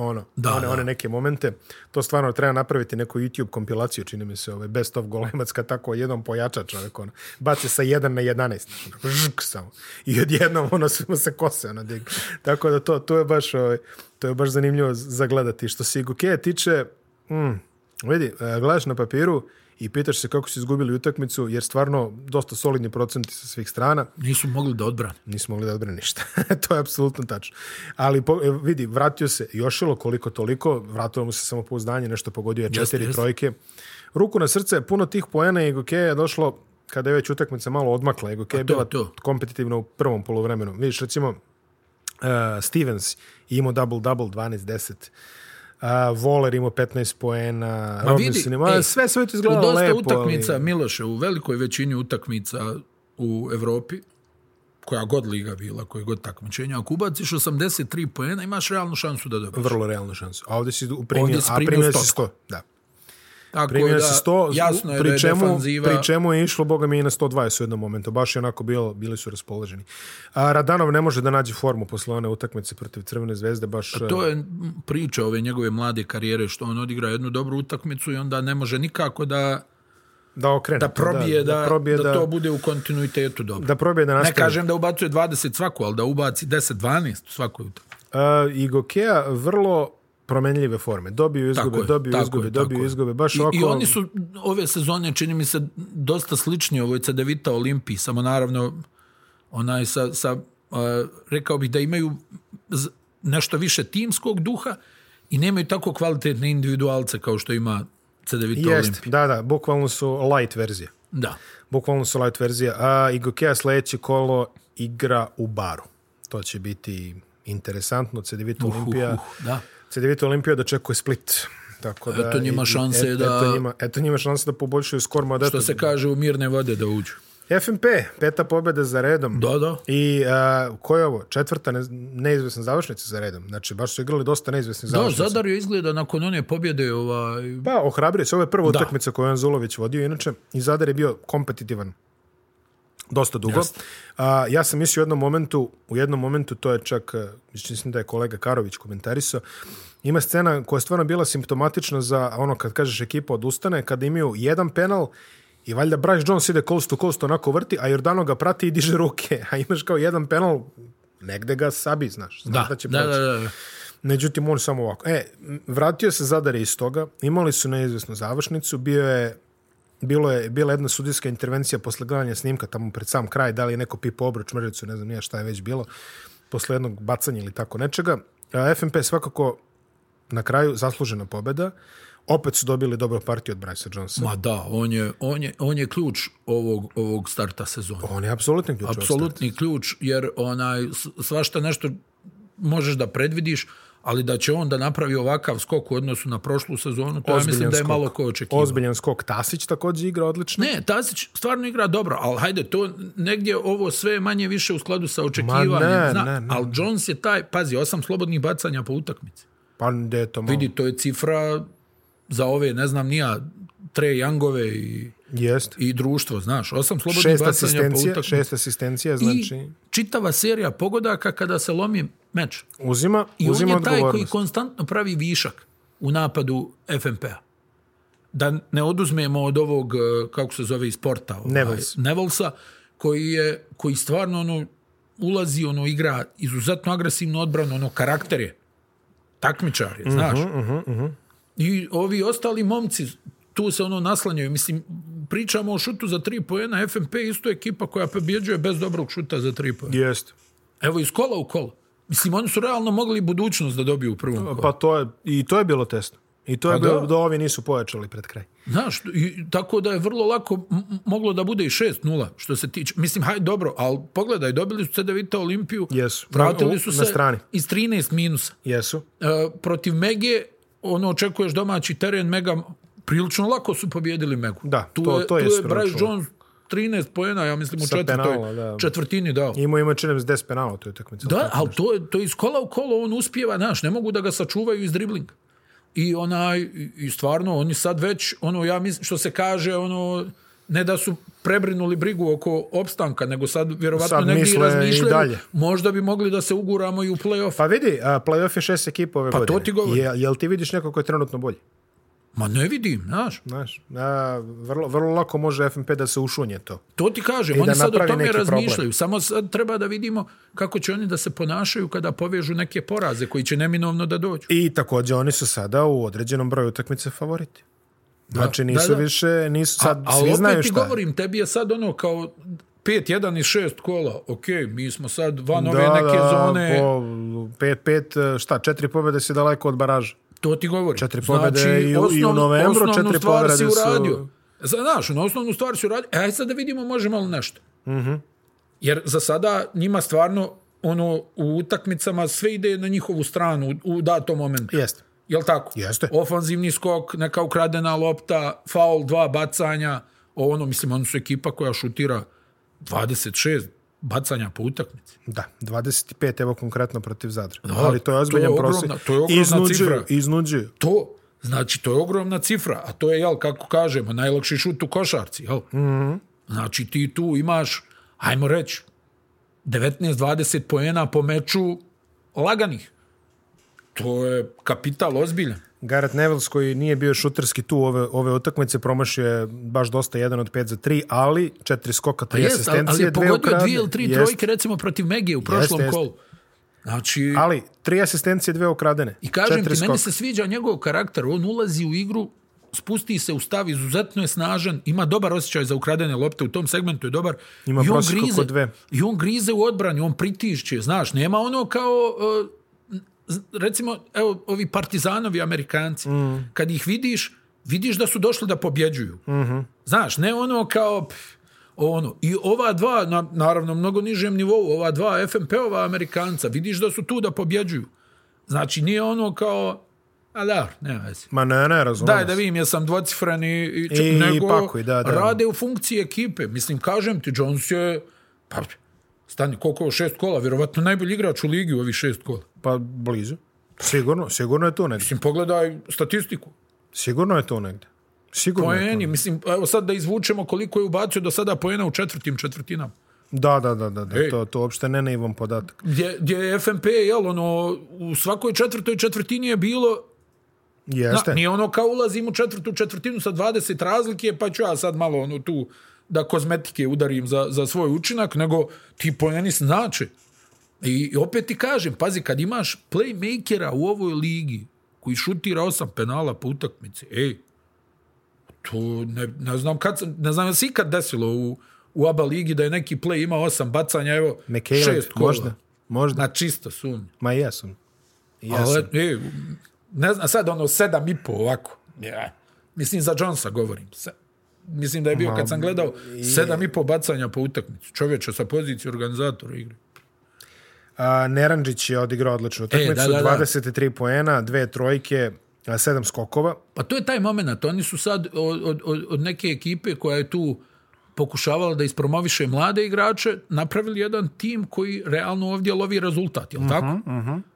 ono, Da, one, da. one neke momente. To stvarno treba napraviti neku YouTube kompilaciju, čini mi se, ovaj Best of Golemac, kad tako jednom pojača čovjek, ono, baci sa 1 na 11, znaš, onako, žk samo. I odjednom, ono, sve mu se kose, ono, dignu. Tako da to, to je baš, ovaj, to je baš zanimljivo za gledati. Što se Igukeja tiče, mm, vidi, e, gledaš na papiru i pitaš se kako su izgubili utakmicu, jer stvarno dosta solidni procenti sa svih strana Nisu mogli da odbrane. nismo mogli da odbrane ništa. to je apsolutno tačno. Ali po, e, vidi, vratio se Jošilo koliko toliko, vratilo mu se samopouzdanje, nešto pogodio je četiri Jeste, jeste. trojke. Ruku na srce, puno tih poena i Gokeja je došlo kada je već utakmica malo odmakla. Gokeja je to je bila to. kompetitivna u prvom polovremenu. Vidiš, recimo, uh, Stevens je imao double-double 12-10. Uh, Voler imao 15 poena, Ma vidi, Robinson imao, ej, sve sve je to U izgledalo dosta lepo. utakmica, ali- Miloše, u velikoj većini utakmica u Evropi, koja god liga bila, koje god takmičenja, ako ubaciš 83 poena, imaš realnu šansu da dobiješ. Vrlo realnu šansu. A ovdje si primio, Ovdje si a primio primio si stotku. 100. Da. Tako Primio da, si 100, jasno je da pri je čemu, defanziva... pri čemu je išlo, boga mi, i na 120 u jednom momentu. Baš je onako bilo, bili su raspoloženi. A Radanov ne može da nađe formu posle one utakmice protiv Crvene zvezde, baš... e, To je priča ove njegove mlade karijere, što on odigra jednu dobru utakmicu i onda ne može nikako da, da okrene. da probije, da, da, probije da, to bude u kontinuitetu dobro. da probije da ne nastavi. kažem da ubacuje 20 svaku, ali da ubaci 10-12 u svakoj utakmici. A, I Gokea vrlo promenljive forme. Dobiju Tako izgube, je, dobiju tako izgube, je, dobiju tako je. izgube. Baš I, ovako... ono. I oni su ove sezone, čini mi se, dosta slični ovoj Cedevita Olimpiji, samo naravno onaj sa, sa a, rekao bih da imaju z- nešto više timskog duha i nemaju tako kvalitetne individualce kao što ima Cedevita Jest, Olimpija. da, da, bukvalno su light verzije. Da. Bukvalno su light verzija. A Igokea sledeće kolo igra u baru. To će biti interesantno. CDVita Uh, Olimpija. uh, da. CDVita Olimpija dočekuje Split. Tako da, Eto njima i- i- šanse et- da- Eto njima, eto njima šanse da poboljšaju skor. mada Što eto, se kaže u mirne vode da uđu. FNP, peta pobjeda za redom. Da, da. I a, ko je ovo? Četvrta ne, neizvesna završnica za redom. Znači, baš su igrali dosta neizvesnih Da, završnica. Zadar je izgleda nakon one pobjede ovaj, Pa, ohrabrio se. Ovo je prva Da. utakmica koju je Anzulović vodio, inače. I Zadar je bio kompetitivan dosta dugo. A, ja sam mislio u jednom momentu, u jednom momentu, to je čak, e, mislim da je kolega Karović komentarisao, ima scena koja je stvarno bila simptomatična za ono kad kažeš ekipa odustane, kada imaju jedan penal i valjda Bryce Jones ide coast to coast onako vrti, a Jordano ga prati i diže ruke, a imaš kao jedan penal, negde ga sabi, znaš. znaš da, da će da, proći. da, da. Međutim, on samo ovako. E, m, vratio se Zadar iz toga, imali su neizvesnu završnicu, bio je Bilo je, bila je jedna sudijska intervencija posle gledanja snimka tamo pred sam kraj, da li je neko pipo obruč, mrvicu, ne znam nije šta je već bilo, posle jednog bacanja ili tako nečega. A, FNP svakako na kraju zaslužena pobeda. opet su dobili dobro partiju od Bryce Jonesa. Ma da, on je, on je, on je ključ ovog, ovog starta sezona. On je apsolutni ključ. Apsolutni ključ, jer onaj, s- svašta nešto možeš da predvidiš, ali da će on da napravi ovakav skok u odnosu na prošlu sezonu, to ja mislim da je malo ko očekivao. Ozbiljan skok. Tasić također igra odlično. Ne, Tasić stvarno igra dobro, ali hajde, to negdje ovo sve je manje više u skladu sa očekivanjem. Ma ne, zna- ne, ne. ali Jones je taj, pazi, osam slobodnih bacanja po utakmici. Pa gde je to malo? Vidi, to je cifra za ove, ne znam, nija, tre Youngove i, Jeste. i društvo, znaš, osam slobodnih bacanja Šest po asistencija, utakmici. šest asistencija, znači I čitava serija pogodaka kada se lomi meč. uzima, I uzima on je taj koji odgovornost. konstantno pravi višak u napadu FMP-a. Da ne oduzmemo od ovog, eh, kako se zove, iz sporta. Ovaj, Nevels. Nevelsa, koji, je, koji stvarno ono, ulazi, ono, igra izuzetno agresivno odbranu, ono, karakter je. Takmičar Mhm, je, znaš. I ovi ostali momci tu se ono naslanjaju. Mislim, pričamo o šutu za tri pojena, FMP je isto ekipa koja pobjeđuje bez dobrog šuta za tri pojena. Jeste. Evo iz kola u kolo. Mislim, oni su realno mogli budućnost da dobiju u prvom kolu. Pa to je, i to je bilo testno. I to je Pa bilo, da. da ovi nisu pojačali pred kraj. Znaš, i, tako da je vrlo lako m- m- moglo da bude i 6-0 što se tiče. Mislim, haj dobro, ali pogledaj, dobili su CDVita Olimpiju, Jesu. vratili U- su na se strani. iz 13 minusa. Jesu. E, protiv Mege, ono, očekuješ domaći teren, Mega prilično lako su pobjedili Megu. Da, tu to- je, to tu je jeste Bryce račun. Jones 13 pojena, ja mislim, u Sa četvrtoj, penala, da. četvrtini dao. Imao ima činem s 10 penala u toj utakmici. Da, ali to, je, to je iz kola u kolo, on uspjeva, znaš, ne mogu da ga sačuvaju iz driblinga. I onaj, i- i stvarno, oni sad već, ono, ja mislim, što se kaže, ono, ne da su prebrinuli brigu oko opstanka, nego sad vjerovatno Sad negdje i misle i razmišljaju, dalje. možda bi mogli da se uguramo i u play-off. Pa vidi, a, playoff je šest ekipa ove Pa to godine. ti govorim. Je, jel ti vidiš neko ko je trenutno bolji? Ma ne vidim, znaš, Znaš, a, vrlo, vrlo lako može FNP da se ušunje to. to ti kažem, I oni da sad o napravi tome neki problem. razmišljaju. Samo sad treba da vidimo kako će oni da se ponašaju kada povežu neke poraze koji će neminovno da dođu. I također oni su sada u određenom broju utakmice favoriti. Znači nisu da, da. više, nisu sad, A- ali svi opet znaju ti šta je. govorim, tebi je sad ono kao 5-1 i 6 kola, ok, mi smo sad van ove da, neke da, zone, po pet, pet, šta, četiri pobjede si daleko od baraža. to ti govori. Četiri pobjede i u- i u novembru, osnovnu četiri stvar si pobjede su- uradio. Znaš, na osnovnu stvar si uradio, e, aj sad da vidimo možemo li nešto. Mhm. Jer za sada njima stvarno ono, u utakmicama sve ide na njihovu stranu u, u datom momentu. Jeste. Jel tako? Jeste. Ofanzivni skok, neka ukradena lopta, faul, dva bacanja. O, ono, mislim, oni su ekipa koja šutira 26 bacanja po utakmici. Da, 25 evo konkretno protiv Zadra. Da, Ali to je ozbiljan to je prosjek. ogromna- to je ogromna iznuđuju, cifra. iznuđuju. To, znači, to je ogromna cifra, a to je, jel, kako kažemo, najlakši šut u košarci, jel? Znači, ti tu imaš, ajmo reći, 19-20 poena po meču laganih. To je kapital ozbiljan. Gareth Nevels koji nije bio šuterski tu ove, ove utakmice promašio je baš dosta jedan od 5 za 3, ali četiri skoka, tri Pa Jest, ali, ali asistencije, je dve pogodio ukradene. dvije ili tri Jest, trojke, recimo, protiv Megije u prošlom jest. kolu. Znači, Ali tri asistencije, dve ukradene. I kažem ti, četiri meni skoka. se sviđa njegov karakter. On ulazi u igru, spusti se u stav, izuzetno je snažan, ima dobar osjećaj za ukradene lopte, u tom segmentu je dobar. Ima I on prosjek oko grize, dve. I on grize u odbrani, on pritišće, znaš, nema ono kao... e, z- recimo, evo, ovi partizanovi amerikanci, Mm. kad ih vidiš, vidiš da su došli da pobjeđuju. Mhm. Znaš, ne ono kao... pff, ono. I ova dva, na, naravno, mnogo nižem nivou, ova dva FNP-ova Amerikanca, vidiš da su tu da pobjeđuju. Znači, nije ono kao, a da, ne vezi. Ma ne, ne, razumem. Daj se. da vidim, jesam dvocifran i, i, č- I nego pakuj, da, da. rade u funkciji ekipe. Mislim, kažem ti, Jones je, pa, stani, koliko je ovo, šest kola, vjerovatno najbolji igrač u ligi u ovih šest kola. Pa blizu. Sigurno, sigurno je tu negdje. Mislim, pogledaj statistiku. Sigurno je tu negdje. Sigurno je tu Poeni, mislim, evo sad da izvučemo koliko je ubacio do sada poena u četvrtim četvrtinama. Da, da, da, da, da. Ej. To, to uopšte ne naivan podatak. Gdje, gdje je FNP, jel, ono, u svakoj četvrtoj četvrtini je bilo Jeste. Da, nije ono kao ulazim u četvrtu četvrtinu sa 20 razlike, pa ću ja sad malo ono tu da kozmetike udarim za, za svoj učinak, nego ti pojeni znači. I opet ti kažem, pazi, kad imaš playmakera u ovoj ligi koji šutira osam penala po utakmici, ej, to ne, ne znam kad, sam- ne znam je se ikad desilo u, u ABA ligi da je neki play ima osam bacanja, evo, Mekele, šest kola. možda. Možda. Na čisto sumnje. Ma jesam. Jesam. e, Ali, ej, ne znam, sad ono sedam i po ovako. Ja. Mislim, za Jonesa govorim. Se, mislim da je bio, kad sam gledao, sedam i po bacanja po utakmicu. Čovječe sa pozicije organizatora igre. A, Neranđić je odigrao odličnu utakmicu, E, da, da, da. 23 poena, dve trojke, a, sedam skokova. Pa to je taj moment. Oni su sad od, od- od, od neke ekipe koja je tu pokušavala da ispromoviše mlade igrače, napravili jedan tim koji realno ovdje lovi rezultat, jel tako?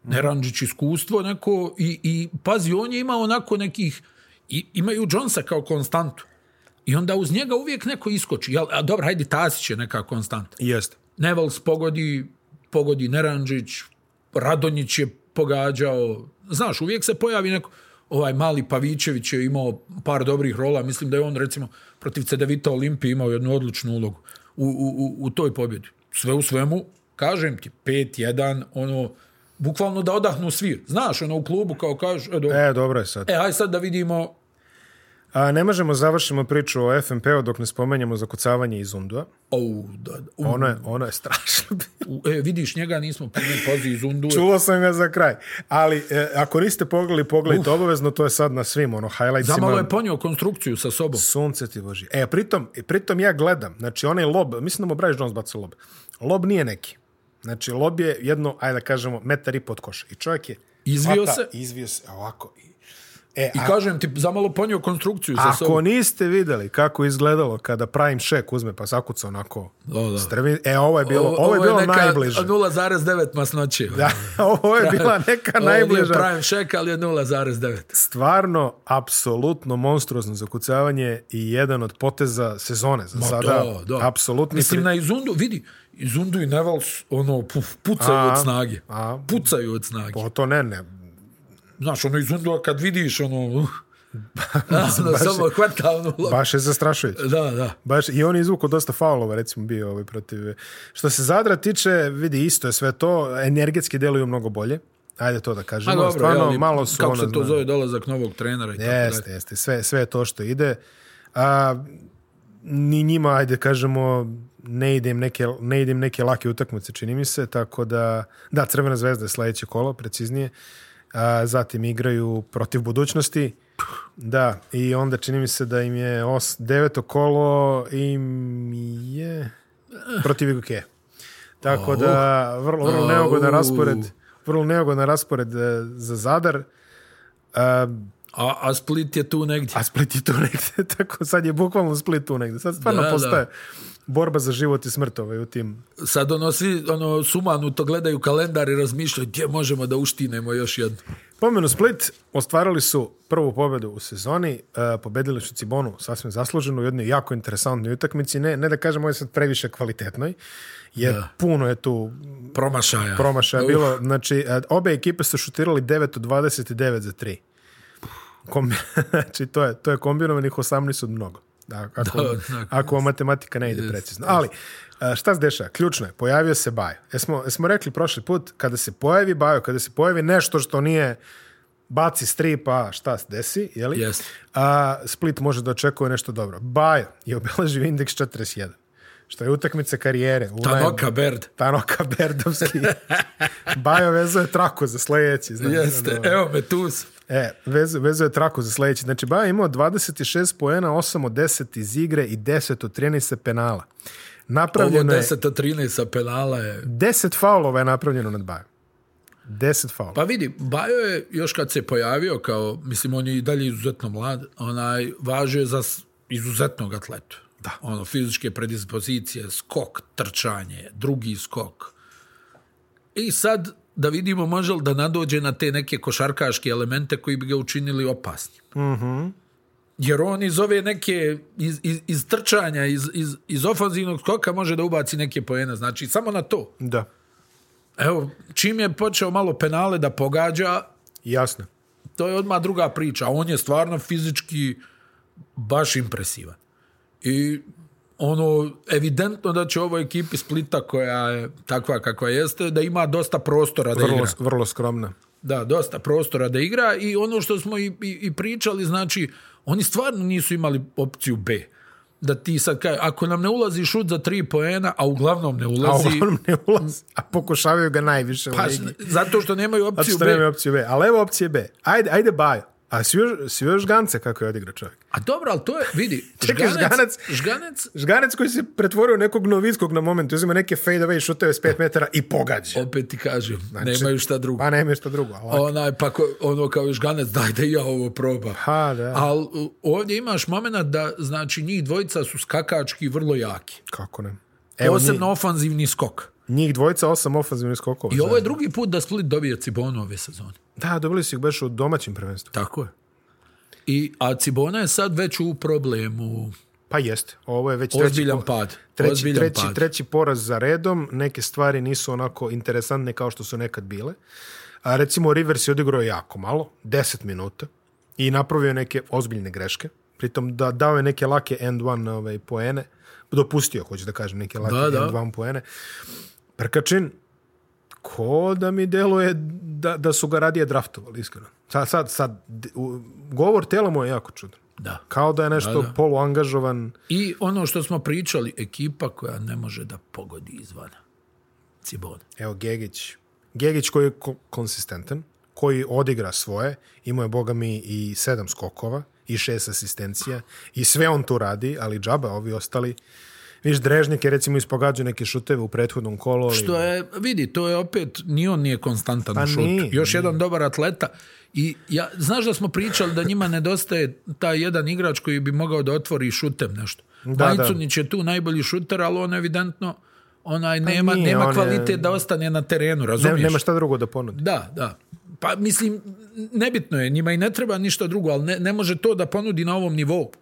Neranđić iskustvo neko i, i pazi, on je imao onako nekih, i, imaju Jonesa kao konstantu. I onda uz njega uvijek neko iskoči. Jel, a dobro, hajde, Tasić je neka konstanta. Jeste. Nevals pogodi, pogodi Neranđić, Radonjić je pogađao. Znaš, uvijek se pojavi neko... Ovaj mali Pavićević je imao par dobrih rola. Mislim da je on, recimo, protiv Cedevita Olimpije imao jednu odličnu ulogu u, u, u, u toj pobjedi. Sve u svemu, kažem ti, 5-1, ono, bukvalno da odahnu svi. Znaš, ono, u klubu kao kažeš, e, dobro. E, dobro je sad. E, aj sad da vidimo... A, ne možemo završimo priču o FNP-u dok ne spomenjemo zakucavanje iz Undua. Au, da, da, u, Ono je, ono je strašno. u, e, vidiš, njega nismo primili pozi iz Undu. Čuo sam ga za kraj. Ali e, ako niste pogledali, pogledajte obavezno, to je sad na svim ono, highlightsima. Zamalo je ponio konstrukciju sa sobom. Sunce ti boži. E, pritom, i pritom ja gledam, znači onaj lob, mislim da mu Bryce Jones bacio lob. Lob nije neki. Znači, lob je jedno, ajde da kažemo, metar i pod koša. I čovjek je... Izvio hvata, se. Izvio se, ovako. I, e, I a- kažem ti, zamalo ponio konstrukciju sa ako sobom. niste videli kako je izgledalo kada Prime Shack uzme pa zakuca onako Da, da. strvi, e, ovo je bilo, ovo, je bilo neka najbliže. 0,9 masnoće. Da, ovo je bila neka najbliža. Ovo je prime check, ali je 0,9. Stvarno, apsolutno monstruozno zakucavanje i jedan od poteza sezone za sada. da, da. Apsolutni Mislim, pri- na Izundu, vidi, Izundu i Nevals, ono, puf, pucaju A, od snage. a. pucaju od snage. O, to ne, ne. Znaš, ono Izundu, kad vidiš, ono, uh, ono samo hvata, ono, loptu. Baš je zastrašujuće. da, da. Baš, I on je izvukao dosta faulova, recimo, bio ovaj protiv... Što se Zadra tiče, vidi, isto je sve to. Energetski deluju mnogo bolje. Ajde to da A kažemo. dobro, Stvarno, jeli, malo su kako ono, se to znaš, zove, dolazak novog trenera i tako dalje. Jeste, jeste, sve, sve je to što ide. A, ni njima, ajde kažemo, ne idem neke, ne idem neke lake utakmice, čini mi se, tako da, da, Crvena zvezda je sledeće kolo, preciznije. A, zatim igraju protiv budućnosti. Da, i onda čini mi se da im je os, deveto kolo im je protiv Iguke. Tako da, vrlo, vrlo neugodan Oh. Au. raspored, vrlo neugodan raspored e, za Zadar. A, A, a Split je tu negdje. a Split je tu negde, tako sad je bukvalno Split tu negde. Sad stvarno Da, da. postaje borba za život i smrt ovaj u tim. Sad ono svi ono, sumanuto gledaju kalendar i razmišljaju gdje možemo da uštinemo još jednu. Pomenu Split, ostvarili su prvu pobedu u sezoni, e, pobedili su Cibonu sasvim zasluženo u jednoj jako interesantnoj utakmici, ne, ne da kažem ovo je sad previše kvalitetnoj, jer puno je tu Promašaja. promašaja bilo, znači e, obe ekipe su šutirali 9 od 29 za 3. Kombi... znači to je, to je kombinovanih 18 od mnogo. Da, ako, Da, da. ako matematika ne ide precizno. Ali, a, šta se dešava? Ključno je, pojavio se Bajo. Jesmo, jesmo rekli prošli put, kada se pojavi Bajo, kada se pojavi nešto što nije baci strip, a šta se desi, jeli? Jeste. A, Split može da očekuje nešto dobro. Bajo je obeležio indeks 41, što je utakmica karijere. u naj- Tanoka Bird. Tanoka Berdovski. Bajo vezuje traku za sledeći. Znači, Jeste, ono. evo me tu. sam. E, vezu, vezuje traku za sledeći. Znači, Bajo je imao 26 poena, 8 od 10 iz igre i 10 od 13 sa penala. Ovo Napravljeno je... 10 od 13 sa penala je... 10 faulova je napravljeno nad Bajom. 10 faulova. Pa vidi, Bajo je još kad se pojavio kao, mislim, on je i dalje izuzetno mlad, onaj, važio je za s- izuzetnog atletu. Da. Ono, fizičke predispozicije, skok, trčanje, drugi skok. I sad da vidimo može li da nadođe na te neke košarkaške elemente koji bi ga učinili opasnim. Jer on iz ove neke, iz, iz, iz trčanja, iz, iz, iz ofanzivnog skoka može da ubaci neke pojene. Znači, samo na to. Da, Evo, čim je počeo malo penale da pogađa, jasno. to je odmah druga priča. On je stvarno fizički baš impresivan. I ono, evidentno da će ovoj ekipi Splita koja je takva kakva jeste, da ima dosta prostora da Vrlo, igra. vrlo skromna. Da, dosta prostora da igra i ono što smo i, i, i pričali, znači, oni stvarno nisu imali opciju B. Da ti sad kaj, ako nam ne ulazi šut za tri poena, a uglavnom ne A ulazi, uglavnom ne ulazi. A pokušavaju ga najviše u pa, ligi. zato što nemaju Zato opciju što B. nema opcije B. Ali evo opcije B. Ajde, ajde Bajo. A svio, svio žgance kako je odigrao čovjek. A dobro, ali to je, vidi, Čekaj, žganec, Žganac- žganec, Žganec koji se pretvorio u nekog novickog na momentu, uzima neke fade away šuteve s 5 metara i pogađa. opet ti kažem, nemaju šta drugo. Pa nema šta drugo. Ali... Onaj, pa ko- ono kao žganec, daj da i ja ovo probam. Ha, da. Ali ovdje imaš momenat da, znači, njih dvojica su skakački vrlo jaki. Kako ne? Evo, Posebno ofanzivni skok. njih, njih dvojica, osam ofazivnih skokova. I ovo je drugi put da Split dobije Cibonu ove sezone. Da, dobili su ih baš u domaćim prvenstvu. Tako je. I, a Cibona je sad već u problemu. Pa jeste. Ovo je već Ozbiljan treći, po- pad. Treći, Ozbiljan treći, pad. treći poraz za redom. Neke stvari nisu onako interesantne kao što su nekad bile. A recimo, Rivers je odigrao jako malo, 10 minuta, i napravio je neke ozbiljne greške. Pritom da dao je neke lake end one ovaj, poene. Dopustio, hoću da kažem, neke lake Da, da. end one poene. Prkačin, ko da mi deluje da, da su ga radije draftovali, iskreno. Sad, sad, sad d- u- govor tela mu je jako čudan. Da. Kao da je nešto poluangažovan. I ono što smo pričali, ekipa koja ne može da pogodi izvana. Cibona. Evo, Gegić. Gegić koji je ko- konsistentan, koji odigra svoje, imao je, boga mi, i sedam skokova, i šest asistencija, i sve on tu radi, ali džaba ovi ostali. Viš, Drežnjak je recimo ispogađao neke šuteve u prethodnom kolu. Ali... Što je, vidi, to je opet, ni on nije konstantan Pa u šutu. nije, Još jedan dobar atleta. I ja, znaš da smo pričali da njima nedostaje taj jedan igrač koji bi mogao da otvori šutem nešto. Da, Pa Majcunić je tu najbolji šuter, ali on evidentno onaj, nema, nije, on nema je- kvalitet da ostane na terenu, Ne- razumiješ? nema šta drugo da ponudi. Da, da. Pa mislim, nebitno je, njima i ne treba ništa drugo, ali ne, ne može to da ponudi na ovom nivou.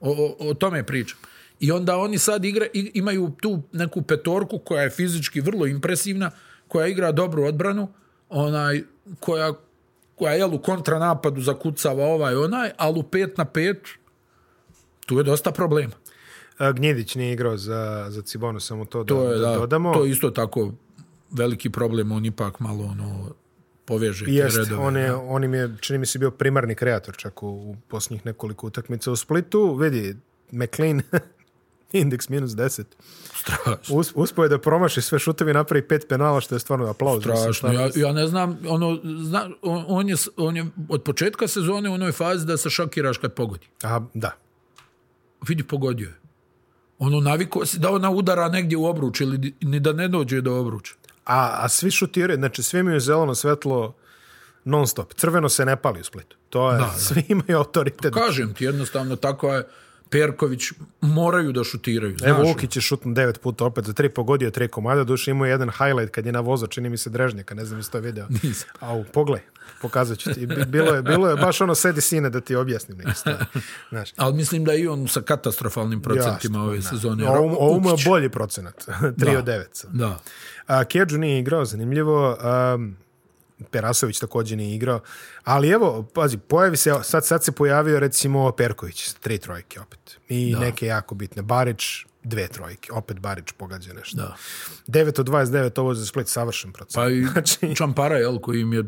O, o, o tome pričam. I onda oni sad igra, i- imaju tu neku petorku koja je fizički vrlo impresivna, koja igra dobru odbranu, onaj, koja, koja jel, u kontranapadu zakucava ovaj onaj, ali u pet na pet tu je dosta problema. A, Gnjedić E, nije igrao za, za Cibonu, samo to, da, To je, da da, dodamo. to je isto tako veliki problem, on ipak malo ono, poveže te Jeste, redove. on, je, on im je, čini mi se, bio primarni kreator čak u, u posljednjih nekoliko utakmica u Splitu. Vidi, McLean, indeks minus 10. Strašno. Us, uspio je da promaši sve šutevi i napravi pet penala, što je stvarno aplauz. Strašno, ja, ja ne znam, ono, zna, on, on je, s- on je od početka sezone u onoj fazi da se šokiraš kad pogodi. A, da. Vidi, pogodio je. Ono, naviko si da ona udara negdje u obruč ili di- ni da ne dođe do obruča. A, a svi šutiraju, znači svi imaju zeleno svetlo non stop. Crveno se ne pali u Splitu. To je, svi imaju autoritet. Kažem ti, jednostavno, tako je Perković, moraju da šutiraju. Znaš, Evo, Vukić je šutno devet puta opet za tri, pogodio tri komada, duše imao je jedan highlight kad je na voza, čini mi se drežnjaka, ne znam jesi to video. Nisam. Au, pogled, pokazat ću ti. Bi- Bilo je, bilo je baš ono sedi sine da ti objasnim neke stvari. Znaš, ali mislim da je i on sa katastrofalnim procentima ove sezone. ovo, mu- ovo mu je Vukić, bolji procenat, 3 od 9 sad. Da. A, Kedžu nije igrao, zanimljivo. Um, Perasović također nije igrao. Ali evo, pazi, pojavi se, sad, sad se pojavio recimo Perković, tri trojke opet. I neke jako bitne. Barić, dve trojke. Opet Barić pogađa nešto. Da. 9 od 29, ovo je za Split savršen proces. Pa i Znači- Čampara, jel, koji im je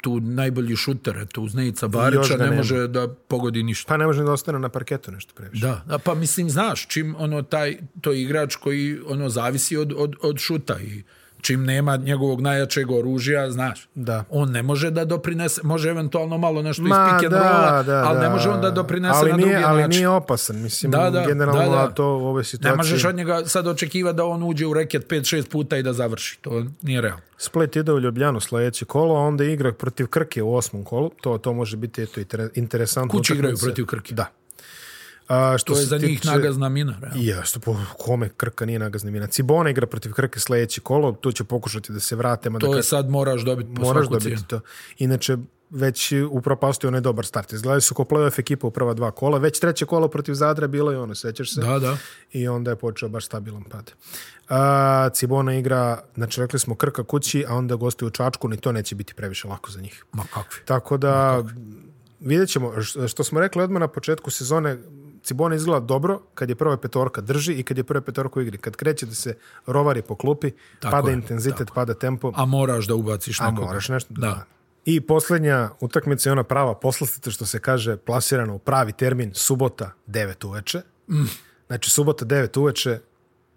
tu najbolji šuter, eto, uz Nejica Još ga Barića, ne nema. može da pogodi ništa. Pa ne može da ostane na parketu nešto previše. Da, da, pa mislim, znaš, čim ono taj, to je igrač koji ono zavisi od, od, od šuta i čim nema njegovog najjačeg oružja, znaš, Da. on ne može da doprinese, može eventualno malo nešto iz Ma, pick and rolla, ali ne može on da da. doprinese ali na nije, drugi ali način. nije opasan, mislim, Da, da, generalno da, da. to u ovoj Ne situaciji. možeš od njega sad očekivati da on uđe u reket 5-6 puta i da završi, to nije realno. Split ide u Ljubljanu sledeće kolo, a onda igra protiv Krke u osmom kolu. To to može biti eto, inter- interesantno. Kući igraju protiv Krke. Da. A, što To je se za njih tiče- nagazna mina, realno. Jeste, po kome Krka nije nagazni mina. Cibona igra protiv Krke sledeće kolo, tu će pokušati da se vrate, mada To Krka je sad moraš dobiti po moraš svaku cijenu. dobiti to. Inače, već upropastio onaj dobar start. Izgledaju su ko playoff ekipa u prva dva kola. Već treće kolo protiv Zadra bilo je ono, sećaš se? Da, da. I onda je počeo baš stabilan pad. A, Cibona igra, znači rekli smo Krka kući, a onda gosti u Čačku, ni to neće biti previše lako za njih. Ma kakvi. Tako da, vidjet ćemo. Š- Što smo rekli odmah na početku sezone, Cibona izgleda dobro kad je prva petorka drži i kad je prva petorka u igri. Kad kreće da se rovari po klupi, pada je, intenzitet, pada tempo. A moraš da ubaciš A nekoga. moraš nešto da. Da. I posljednja utakmica je ona prava poslastica što se kaže plasirana u pravi termin subota 9 uveče. Mm. Znači subota 9 uveče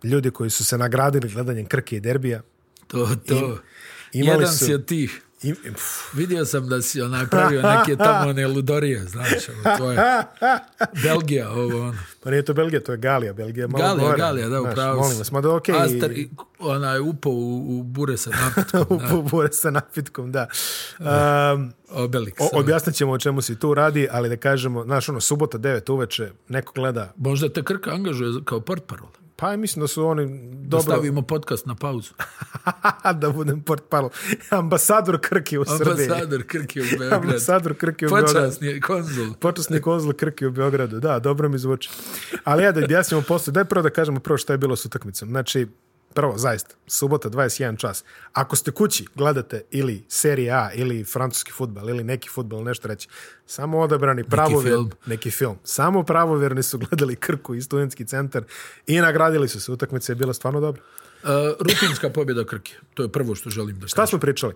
ljudi koji su se nagradili gledanjem Krke i derbija To, to. imali Jedan su si od tih. I, pff, Vidio sam da si onaj pravio neke tamo one ludorije, znaš, ovo, to je Belgija, ovo ono. pa nije to Belgija, to je Galija. Belgija je malo Galija, gore. Galija, da, Znaš, upravo. Molim vas, mada okej. Astar, i- onaj, upao u, u bure sa napitkom, da, Pobure sa napitkom, da. Um, Obelix. o, objasnit ćemo o čemu se i tu radi, ali da kažemo, znaš, ono, subota 9 uveče, neko gleda, Možda te Krka angažuje za- kao portparol. pa ja mislim da su oni Da dobro, stavimo podcast na pauzu. da budem port parol, ambasador Krke u Srbiji. Ambasador Krke u Beogradu. Ambasador Krke u Beogradu. Počasni konzul. Počasni konzul Krke u Beogradu, da, dobro mi zvuči. Ali ja da objasnimo posle, daj prvo da kažemo prvo šta je bilo s utakmicom. Znači, prvo, zaista, subota 21 čas. Ako ste kući, gledate ili serije A, ili francuski futbal, ili neki futbal, nešto reći, samo odabrani pravovjerni, film. neki film. Samo pravovjerni su gledali Krku i studentski centar i nagradili su se. Utakmica je bila stvarno dobra. Uh, rutinska pobjeda Krke. To je prvo što želim da Šta kažem. smo pričali?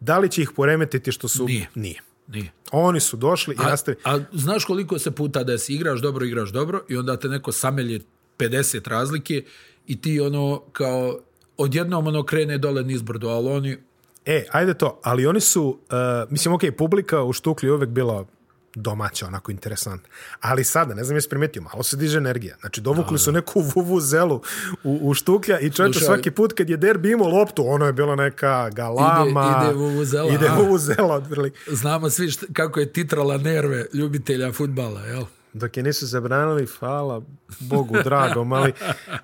Da li će ih poremetiti što su... Nije. Nije. Nije. Oni su došli i nastavili. A znaš koliko se puta desi, igraš dobro, igraš dobro i onda te neko samelje 50 razlike i ti ono kao odjednom ono krene dole nizbrdo, ali oni E, ajde to, ali oni su, uh, mislim, ok, publika u Štukli je uvek bila domaća, onako interesantna. Ali sada, ne znam jesi primetio, malo se diže energija. Znači, dovukli su neku vuvuzelu u, u Štuklja i čovječe Slušaj. svaki put kad je derbi imao loptu, ono je bila neka galama. Ide- ide vuvuzela, Ide a? vuvuzela, otprilike. znamo svi št, kako je titrala nerve ljubitelja futbala, jel? Dok je nisu zabranili, hvala Bogu dragom, ali,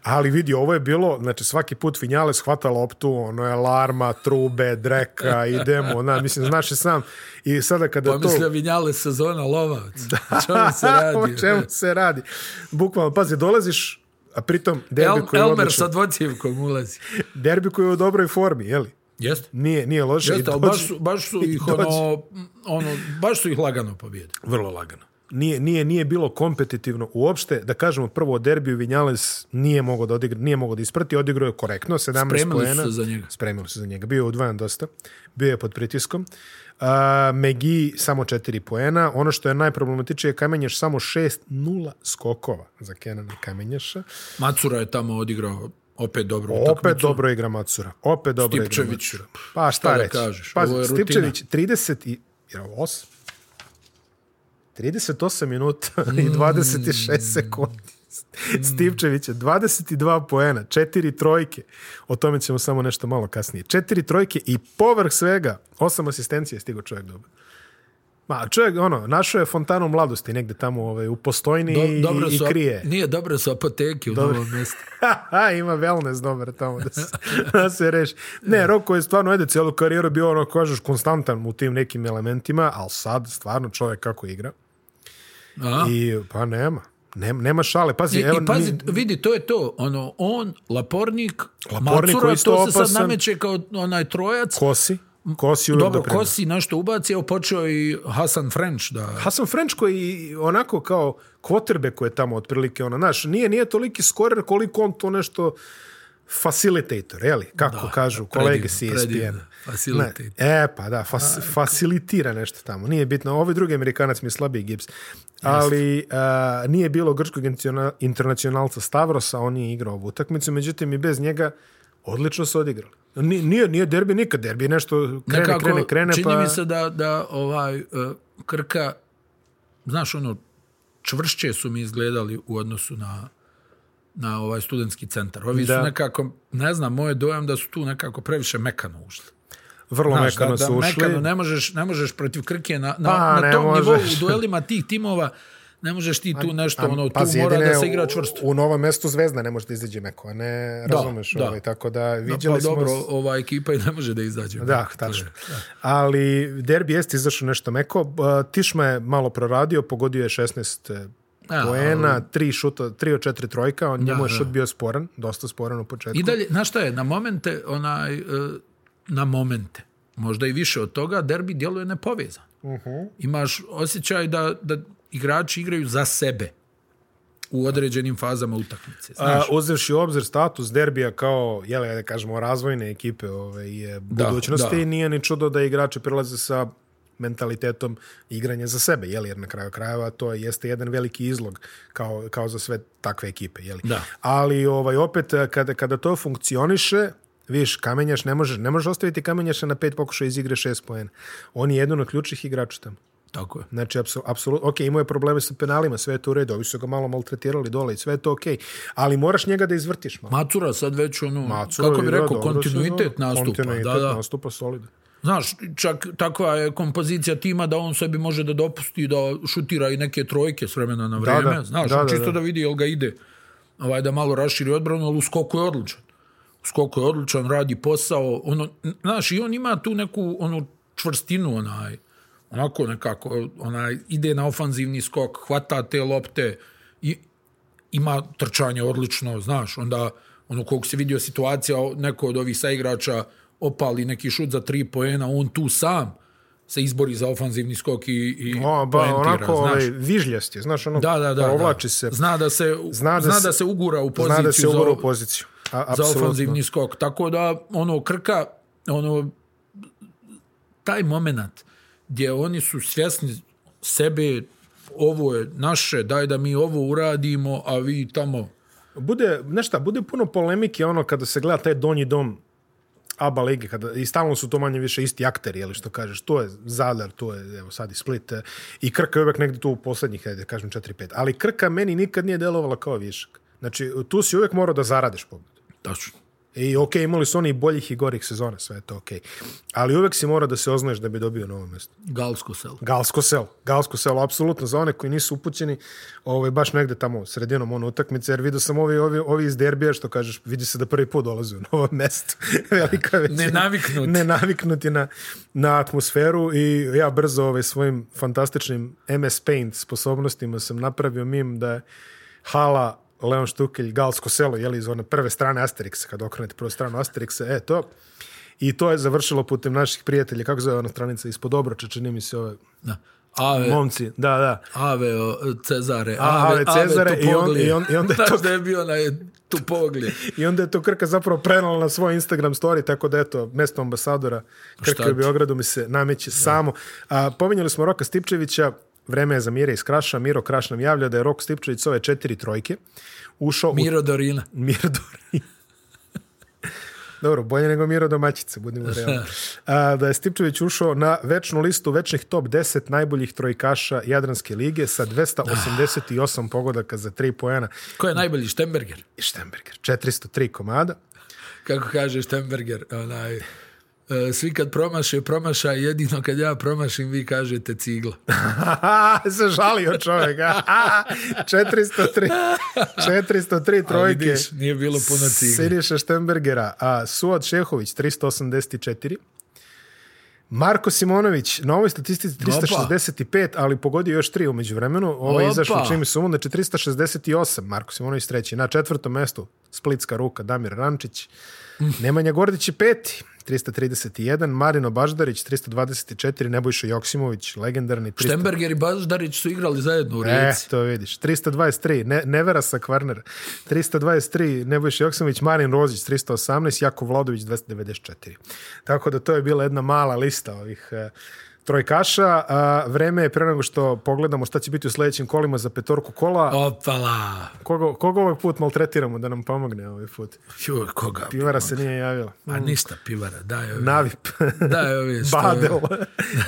ali vidi, ovo je bilo, znači svaki put Vinjales hvata loptu, ono je alarma, trube, dreka, idemo, na, mislim, znaš i sam. I sada kada to... Pomislio Pa vinjale sezona lovac. Da. Čemu se radi? o čemu se radi? Bukvalno, pazi, dolaziš, a pritom derbi, El, koji, je Elmer sa odličan, dvocivkom ulazi. derbi koji je u dobroj formi, jeli? Jeste? Nije, nije loše. Jeste, I ali dođe- baš su, baš su ih dođe. ono, ono, baš su ih lagano pobjede. Vrlo lagano. Nije, nije, nije bilo kompetitivno uopšte. Da kažemo prvo o derbiju Vinjales nije mogao da odigra, nije mogao da isprati, odigrao je korektno, 17 Spremili su poena. se za njega. Spremili su za njega. Bio je udvajan dosta. Bio je pod pritiskom. Uh, Megi samo 4 poena. Ono što je najproblematičnije, Kamenješ samo 6-0 skokova za Kenana Kamenješa. Macura je tamo odigrao opet dobro Opet dobro igra Macura. Opet dobro igra Stipčević. Macura. Pa šta, da reći? kažeš, Pazi, ovo je rutina. Stipčević 30 i... Je li ovo osam? 38 minuta i 26 Mm. sekundi. Stipčević je 22 poena, četiri trojke. O tome ćemo samo nešto malo kasnije. Četiri trojke i povrh svega osam asistencije je stigao čovjek dobro. Ma, čovjek, ono, našao je fontanu mladosti negde tamo ovaj, u postojni Do, i, dobro i su, krije. Nije dobro su apoteke u novom mjestu. Haha, ima wellness dobar tamo da se, da se reši. Ne, Roko je stvarno, ajde, cijelu karijeru bio ono, kažeš, konstantan u tim nekim elementima, ali sad stvarno čovjek kako igra. A? I pa nema. Nema, nema šale. Pazi, I, evo, I pazi, ni- vidi, to je to. Ono, on, Lapornik, Lapornik Macura, koji je to se sad opasan. nameće kao onaj trojac. kosi. Kosi uvijek dobro, doprinu. Kosi nešto ubaci, evo počeo i Hasan French da... Hasan French koji onako kao kvoterbe koje je tamo otprilike ono, znaš, nije, nije toliki skorer koliko on to nešto facilitator, jeli? Kako kažu kolege s predivno, predivno. ESPN. Facilitator. Ne, e, pa da, fas, fasilitira nešto tamo. Nije bitno. Ovi drugi Amerikanac mi je slabiji Gibbs. Ali a, nije bilo grčkog intenciona- internacionalca Stavrosa, on je igrao ovu utakmicu, međutim i bez njega odlično su odigrali. Ni- Nije, nije derbi nikad, derbi je nešto krene, Nekako, krene, krene, čini pa... mi se da, da ovaj, eh, Krka, znaš, ono, čvršće su mi izgledali u odnosu na na ovaj studentski centar. Ovi Da. su nekako, ne znam, moj je dojam da su tu nekako previše mekano ušli. Vrlo Znaš, mekano da, da, su ušli. mekano, ne, možeš, ne možeš protiv Krke na, na, Pa, na ne tom možeš. Pa, nivou u duelima tih timova ne možeš ti tu nešto, ono, tu Pazi, mora jedine da se u- igra čvrsto. U, novom mestu Zvezda ne može da izađe meko, a ne razumeš. da. ovaj, tako da Pa viđali smo... dobro, ova ekipa i ne može da izađe. Da, tačno. Ali derbi jeste izašao nešto meko. Uh, Tišma je malo proradio, pogodio je 16 A, a, poena, tri šuta, tri od četiri trojka, on njemu je da. šut bio sporan, dosta sporan u početku. I dalje, znaš šta je, na momente, onaj, e, na momente, možda i više od toga, derbi djeluje nepovezan. Mhm. Imaš osjećaj da, da igrači igraju za sebe u određenim fazama utakmice. A, uzevši u obzir status derbija kao, jel, da kažemo, razvojne ekipe ove, je budućnosti, da. nije ni čudo da igrači prilaze sa mentalitetom igranja za sebe, jeli, jer na kraju krajeva to jeste jedan veliki izlog kao, kao za sve takve ekipe. Jeli. Da. Ali ovaj, opet, kada, kada to funkcioniše, Viš, Kamenjaš ne može, ne može ostaviti Kamenjaša na pet pokušaja iz igre šest poena. On je jedan od ključnih igrača tamo. Tako je. Znači, apsolutno, ok, imao je probleme sa penalima, sve je to u redu, ovi su ga malo maltretirali dole i sve je to ok, ali moraš njega da izvrtiš malo. Macura sad već ono, Macura kako bi igra rekao, dobro kontinuitet sezonu, nastupa. Kontinuitet da, da. nastupa solida. Znaš, čak takva je kompozicija tima da on sebi može da dopusti da šutira i neke trojke s vremena na vreme. da. Znaš, Da, on da, čisto da. da vidi jel ga ide ovaj, da malo raširi odbranu, ali u skoku je odličan. U skoku je odličan, radi posao. Ono, n- znaš, i on ima tu neku onu čvrstinu onaj, onako nekako, onaj, ide na ofanzivni skok, hvata te lopte, i, ima trčanje odlično, znaš, onda ono koliko se vidio situacija, o- neko od ovih saigrača opali neki šut za tri poena, on tu sam se izbori za ofanzivni skok i, i O, ba, poentira, onako znaš. ovaj, vižljast je, znaš, ono, Da, da, da. provlači da. se, Zna da se, Zna zna da da, se- se ugura u poziciju zna da se ugora za, u poziciju. A, za apsolutno. ofanzivni skok. Tako da, ono, Krka, ono, taj moment gdje oni su svjesni sebe, ovo je naše, daj da mi ovo uradimo, a vi tamo Bude, znaš šta, bude puno polemike ono kada se gleda taj donji dom ABA lige, kada, i stalno su to manje više isti akteri, jeli što kažeš, to je Zadar, to je, evo sad i Split, e, i Krka je uvek negde tu u poslednjih, ajde, da kažem, 4-5, ali Krka meni nikad nije delovala kao višak. Znači, tu si uvek morao da zaradeš pobjedu. E, Tačno. I ok, imali su oni i boljih i gorih sezona, sve je to ok. Ali uvek si morao da se oznoješ da bi dobio novo mesto. Galsko selo. Galsko selo. Galsko selo, apsolutno, za one koji nisu upućeni, ovaj, baš negde tamo sredinom ono utakmice, jer vidio sam ovi, ovi, ovi iz derbija, što kažeš, vidi se da prvi put dolaze u novo mesto. Velika većina. Nenaviknuti. Nenaviknuti na, na atmosferu i ja brzo ovaj, svojim fantastičnim MS Paint sposobnostima sam napravio mim da je hala Leon Štukelj, Galsko selo, jeli iz one prve strane Asterixa, kad okrenete prvu stranu Asterixa, e, to. I to je završilo putem naših prijatelja, kako zove ona stranica, ispod obroča, čini mi se ove Da. Ave, momci, da, da. Ave o, Cezare, A, Ave, Ave Cezare i on- Tupoglije. i on- i onda je Znaš to- da je bio na Tupoglije. I onda je to Krka zapravo prenala na svoj Instagram story, tako da eto, mesto ambasadora Krka Šta u ti? Beogradu mi se nameće samo. A, pominjali smo Roka Stipčevića, vreme je za Mire iz Kraša. Miro Kraš nam javlja da je Rok Stipčević s ove četiri trojke ušao Miro Dorina. u Miro Dori. Dobro, bolje nego Miro Domaćice, budimo realni. A, da je Stipčević ušao na večnu listu večnih top 10 najboljih trojkaša Jadranske lige sa 288 pogodaka za 3 poena. Ko je najbolji? Štemberger. I Štemberger, 403 komada. Kako kaže Štemberger, onaj, e, svi kad promaše, promaša, jedino kad ja promašim, vi kažete cigla. se žalio čovjek. a? 403, 403 Ali trojke. vidiš, nije bilo puno cigla. Siniša Štembergera, a Suad Šehović 384. Marko Simonović, na ovoj statistici 365, ali pogodio još tri umeđu vremenu. Ovo je Opa. izašlo čim su znači 368, Marko Simonović treći. Na četvrtom mestu, Splitska ruka, Damir Rančić. Nemanja Gordić je peti, 331, Marino Baždarić 324, Nebojša Joksimović, legendarni 300. Štemberger i Baždarić su igrali zajedno u E, Rijeci. to vidiš. 323, ne, Nevera sa Kvarner. 323, Nebojša Joksimović, Marin Rozić, 318, Jakov Vladović, 294. Tako da to je bila jedna mala lista ovih e, trojkaša. A, vreme je pre nego što pogledamo šta će biti u sledećim kolima za petorku kola. Opala. Koga, koga ovaj put maltretiramo da nam pomogne ovaj put? Joj, koga? Pivara se nije javila. Pa A ništa pivara, daj ove. Navip. Daj ove što... Badel.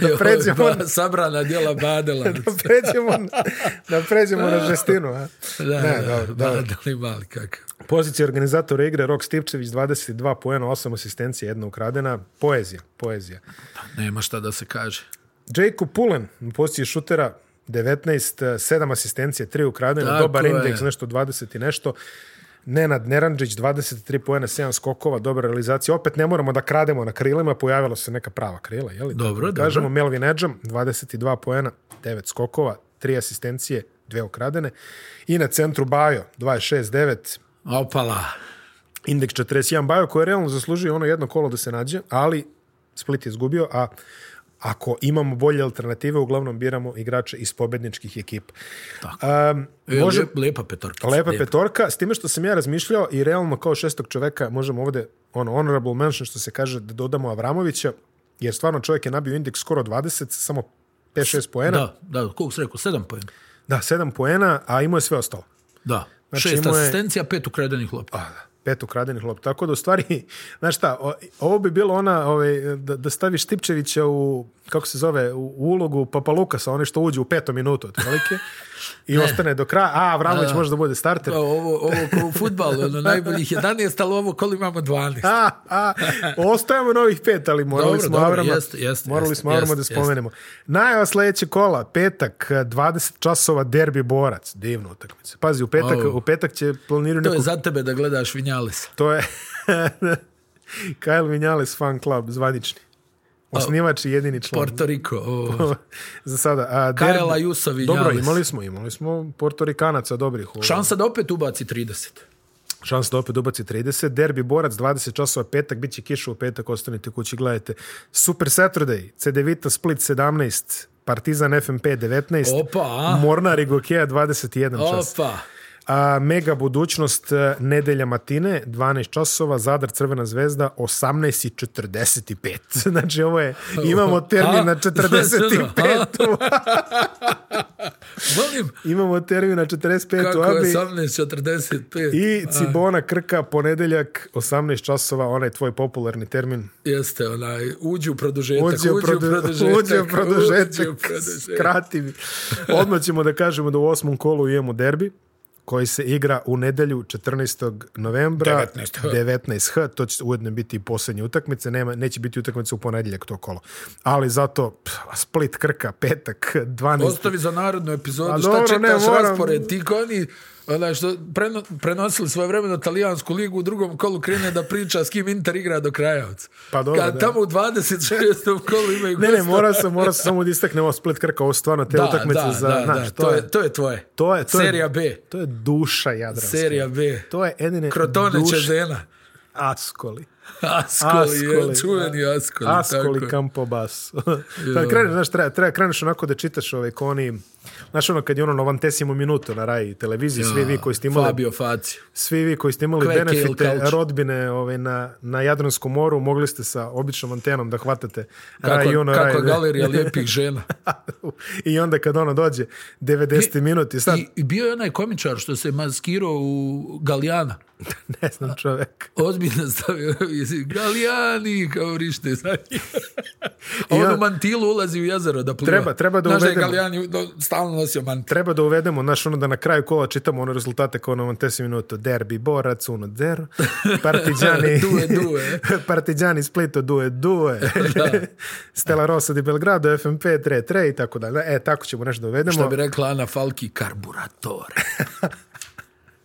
Da pređemo Ba- Sabrana djela Badela. da pređemo, na- da pređemo na žestinu. A? Da, ne, da, dobro, dobro. Badel i mali kakav. Pozicija organizatora igre Rok Stipčević 22 poena, 8 asistencija, jedna ukradena. Poezija, poezija. Pa Nema šta da se kaže. Jacob Pullen na poziciji šutera 19, eh, 7 asistencije, 3 ukradene, Tako dobar je. indeks, nešto 20 i nešto. Nenad Neranđić, 23 poena, 7 skokova, dobra realizacija. Opet ne moramo da krademo na krilima, pojavila se neka prava krila, je li? Dobro, Tako da dobro. Kažemo Melvin Edžam, 22 poena, 9 skokova, 3 asistencije, 2 ukradene. I na centru Bajo, 26, 9, Opala. indeks 41 Bajo koji je realno zaslužio ono jedno kolo da se nađe, ali Split je izgubio, a ako imamo bolje alternative, uglavnom biramo igrače iz pobedničkih ekipa. Um, E, može, lep- lepa petorka. lepa petorka, s time što sam ja razmišljao i realno kao šestog čoveka možemo ovde ono, honorable mention što se kaže da dodamo Avramovića, jer stvarno čovjek je nabio indeks skoro 20, sa samo 5-6 poena. Da. Da, da, koliko si rekao, sedam pojena. da, 7 poena, a imao je sve ostalo. Da, Znači, šest imao je- asistencija, pet ukradenih lopta. Pa da. pet ukradenih lopta. Tako da u stvari, znaš šta, o- ovo bi bilo ona, ovaj, da, da staviš Tipčevića u, kako se zove, u, u ulogu Papa Lukasa, onaj što uđe u petom minutu otprilike i ostane do kraja. A, Avramović može da bude starter. Pa, Ovo, ovo kao u futbalu, ono, najboljih 11, ali ovo kolo imamo 12. A, a, ostajemo na ovih pet, ali morali Dobro, smo dobro, Avrama, jeste, jeste, morali jeste, smo Avrama jeste, da jeste. spomenemo. Najava sledećeg kola, petak, 20 časova derbi borac. Divna utakmica. Pazi, u petak, Au. u petak će planirati To je neku... za tebe da gledaš Vinjales. To je Kyle Vinales fan club, zvanični. Osnivač i jedini član. Porto Rico. O, Za sada. A, derbi... Kajla Jusa Dobro, Vinjales. imali smo, imali smo portorikanaca dobrih. Ovo. Šansa da opet ubaci 30. Šansa da opet ubaci 30. Derbi borac 20 časova petak, bit će kiša u petak, ostanite kući, gledajte. Super Saturday, CD Vita Split 17, Partizan FMP 19, Opa, a? Mornar i Gokeja 21 čas. Opa. A, mega budućnost e, nedelja matine, 12 časova, Zadar Crvena zvezda, 18 i 45. Znači ovo je, imamo termin na A? 45. Volim imamo termin na 45. kako a bi- je 18.45. I Cibona Krka, ponedeljak, 18 časova, onaj tvoj popularni termin. Jeste, onaj, uđi E, u produžetak, Uđe u produ- produžetak, uđe u uđi u produžetak, produžetak. skrati mi. Odmah ćemo da kažemo da u osmom kolu imamo derbi, koji se igra u nedelju 14. novembra 19H. 19h, to će ujedno biti i poslednje utakmice, nema, neće biti utakmice u ponedeljak to kolo. Ali zato pff, Split Krka, petak, 12. Ostavi za narodnu epizodu, A šta dobro, čitaš ne, moram. raspored, ti ko oni onaj, što preno, prenosili svoje vremeno talijansku ligu u drugom kolu krene da priča s kim Inter igra do krajavca. Pa dobro, Kad da. tamo u 26. kolu imaju Ne, ne, gosta. mora sam, mora sam samo da istaknemo Split Krka, ovo su stvarno te Da, utakmice da, za... da, znaš, da, to, je, to je tvoje. To je, to Serija je, B. To je duša Jadranska. Serija B. To je Edine Krotone duša. Čezena. Askoli. Askoli, je, Askoli, čuveni Askoli. Askoli tako. Campobas. Kad kreneš, znaš, treba, treba kreneš onako da čitaš ove koni, znaš ono kad je ono novantesimo minuto na raj televiziji, svi vi koji ste imali, Fabio Facio. svi vi koji ste imali Kveke benefite ili kauč. rodbine ove, na, na Jadranskom moru, mogli ste sa običnom antenom da hvatate raj Kako, i ono kako raj. galerija lijepih žena. I onda kad ono dođe 90 minut i sad, I, I bio je onaj komičar što se maskirao u Galijana. ne znam čovek. Ozbiljno stavio visi, Galijani, kao rište. znaš. A Ja- on u mantilu ulazi u jezero da pliva. Treba- treba da Znaš je uvedemo. Galijani do- stalno nosio mantil. treba da uvedemo, znaš, ono da na kraju kola čitamo one rezultate kao na Montesi minuto. Derbi, Borac, uno, zero. Partizani, Due, due. Partizani, Splito, due, due. Stella Rosa di Belgrado, FMP, 3, 3 i tako dalje. E, tako ćemo nešto da uvedemo. Što bi rekla Ana Falki, karburatore.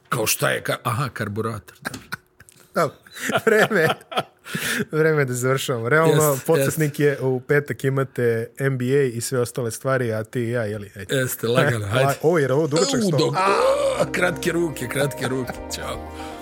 kao šta je? Kar... Aha, karburator. da. Dobro. Vreme. Vreme je da završavamo. Realno, Jest, podsjetnik je u petak imate NBA i sve ostale stvari, a ti i ja, jeli? Ajde. E, ovaj- Jeste, E, lagano, hajde. E, Ovo je ovo dugačak U, sto. dok- A, Kratke ruke, kratke ruke. Ćao.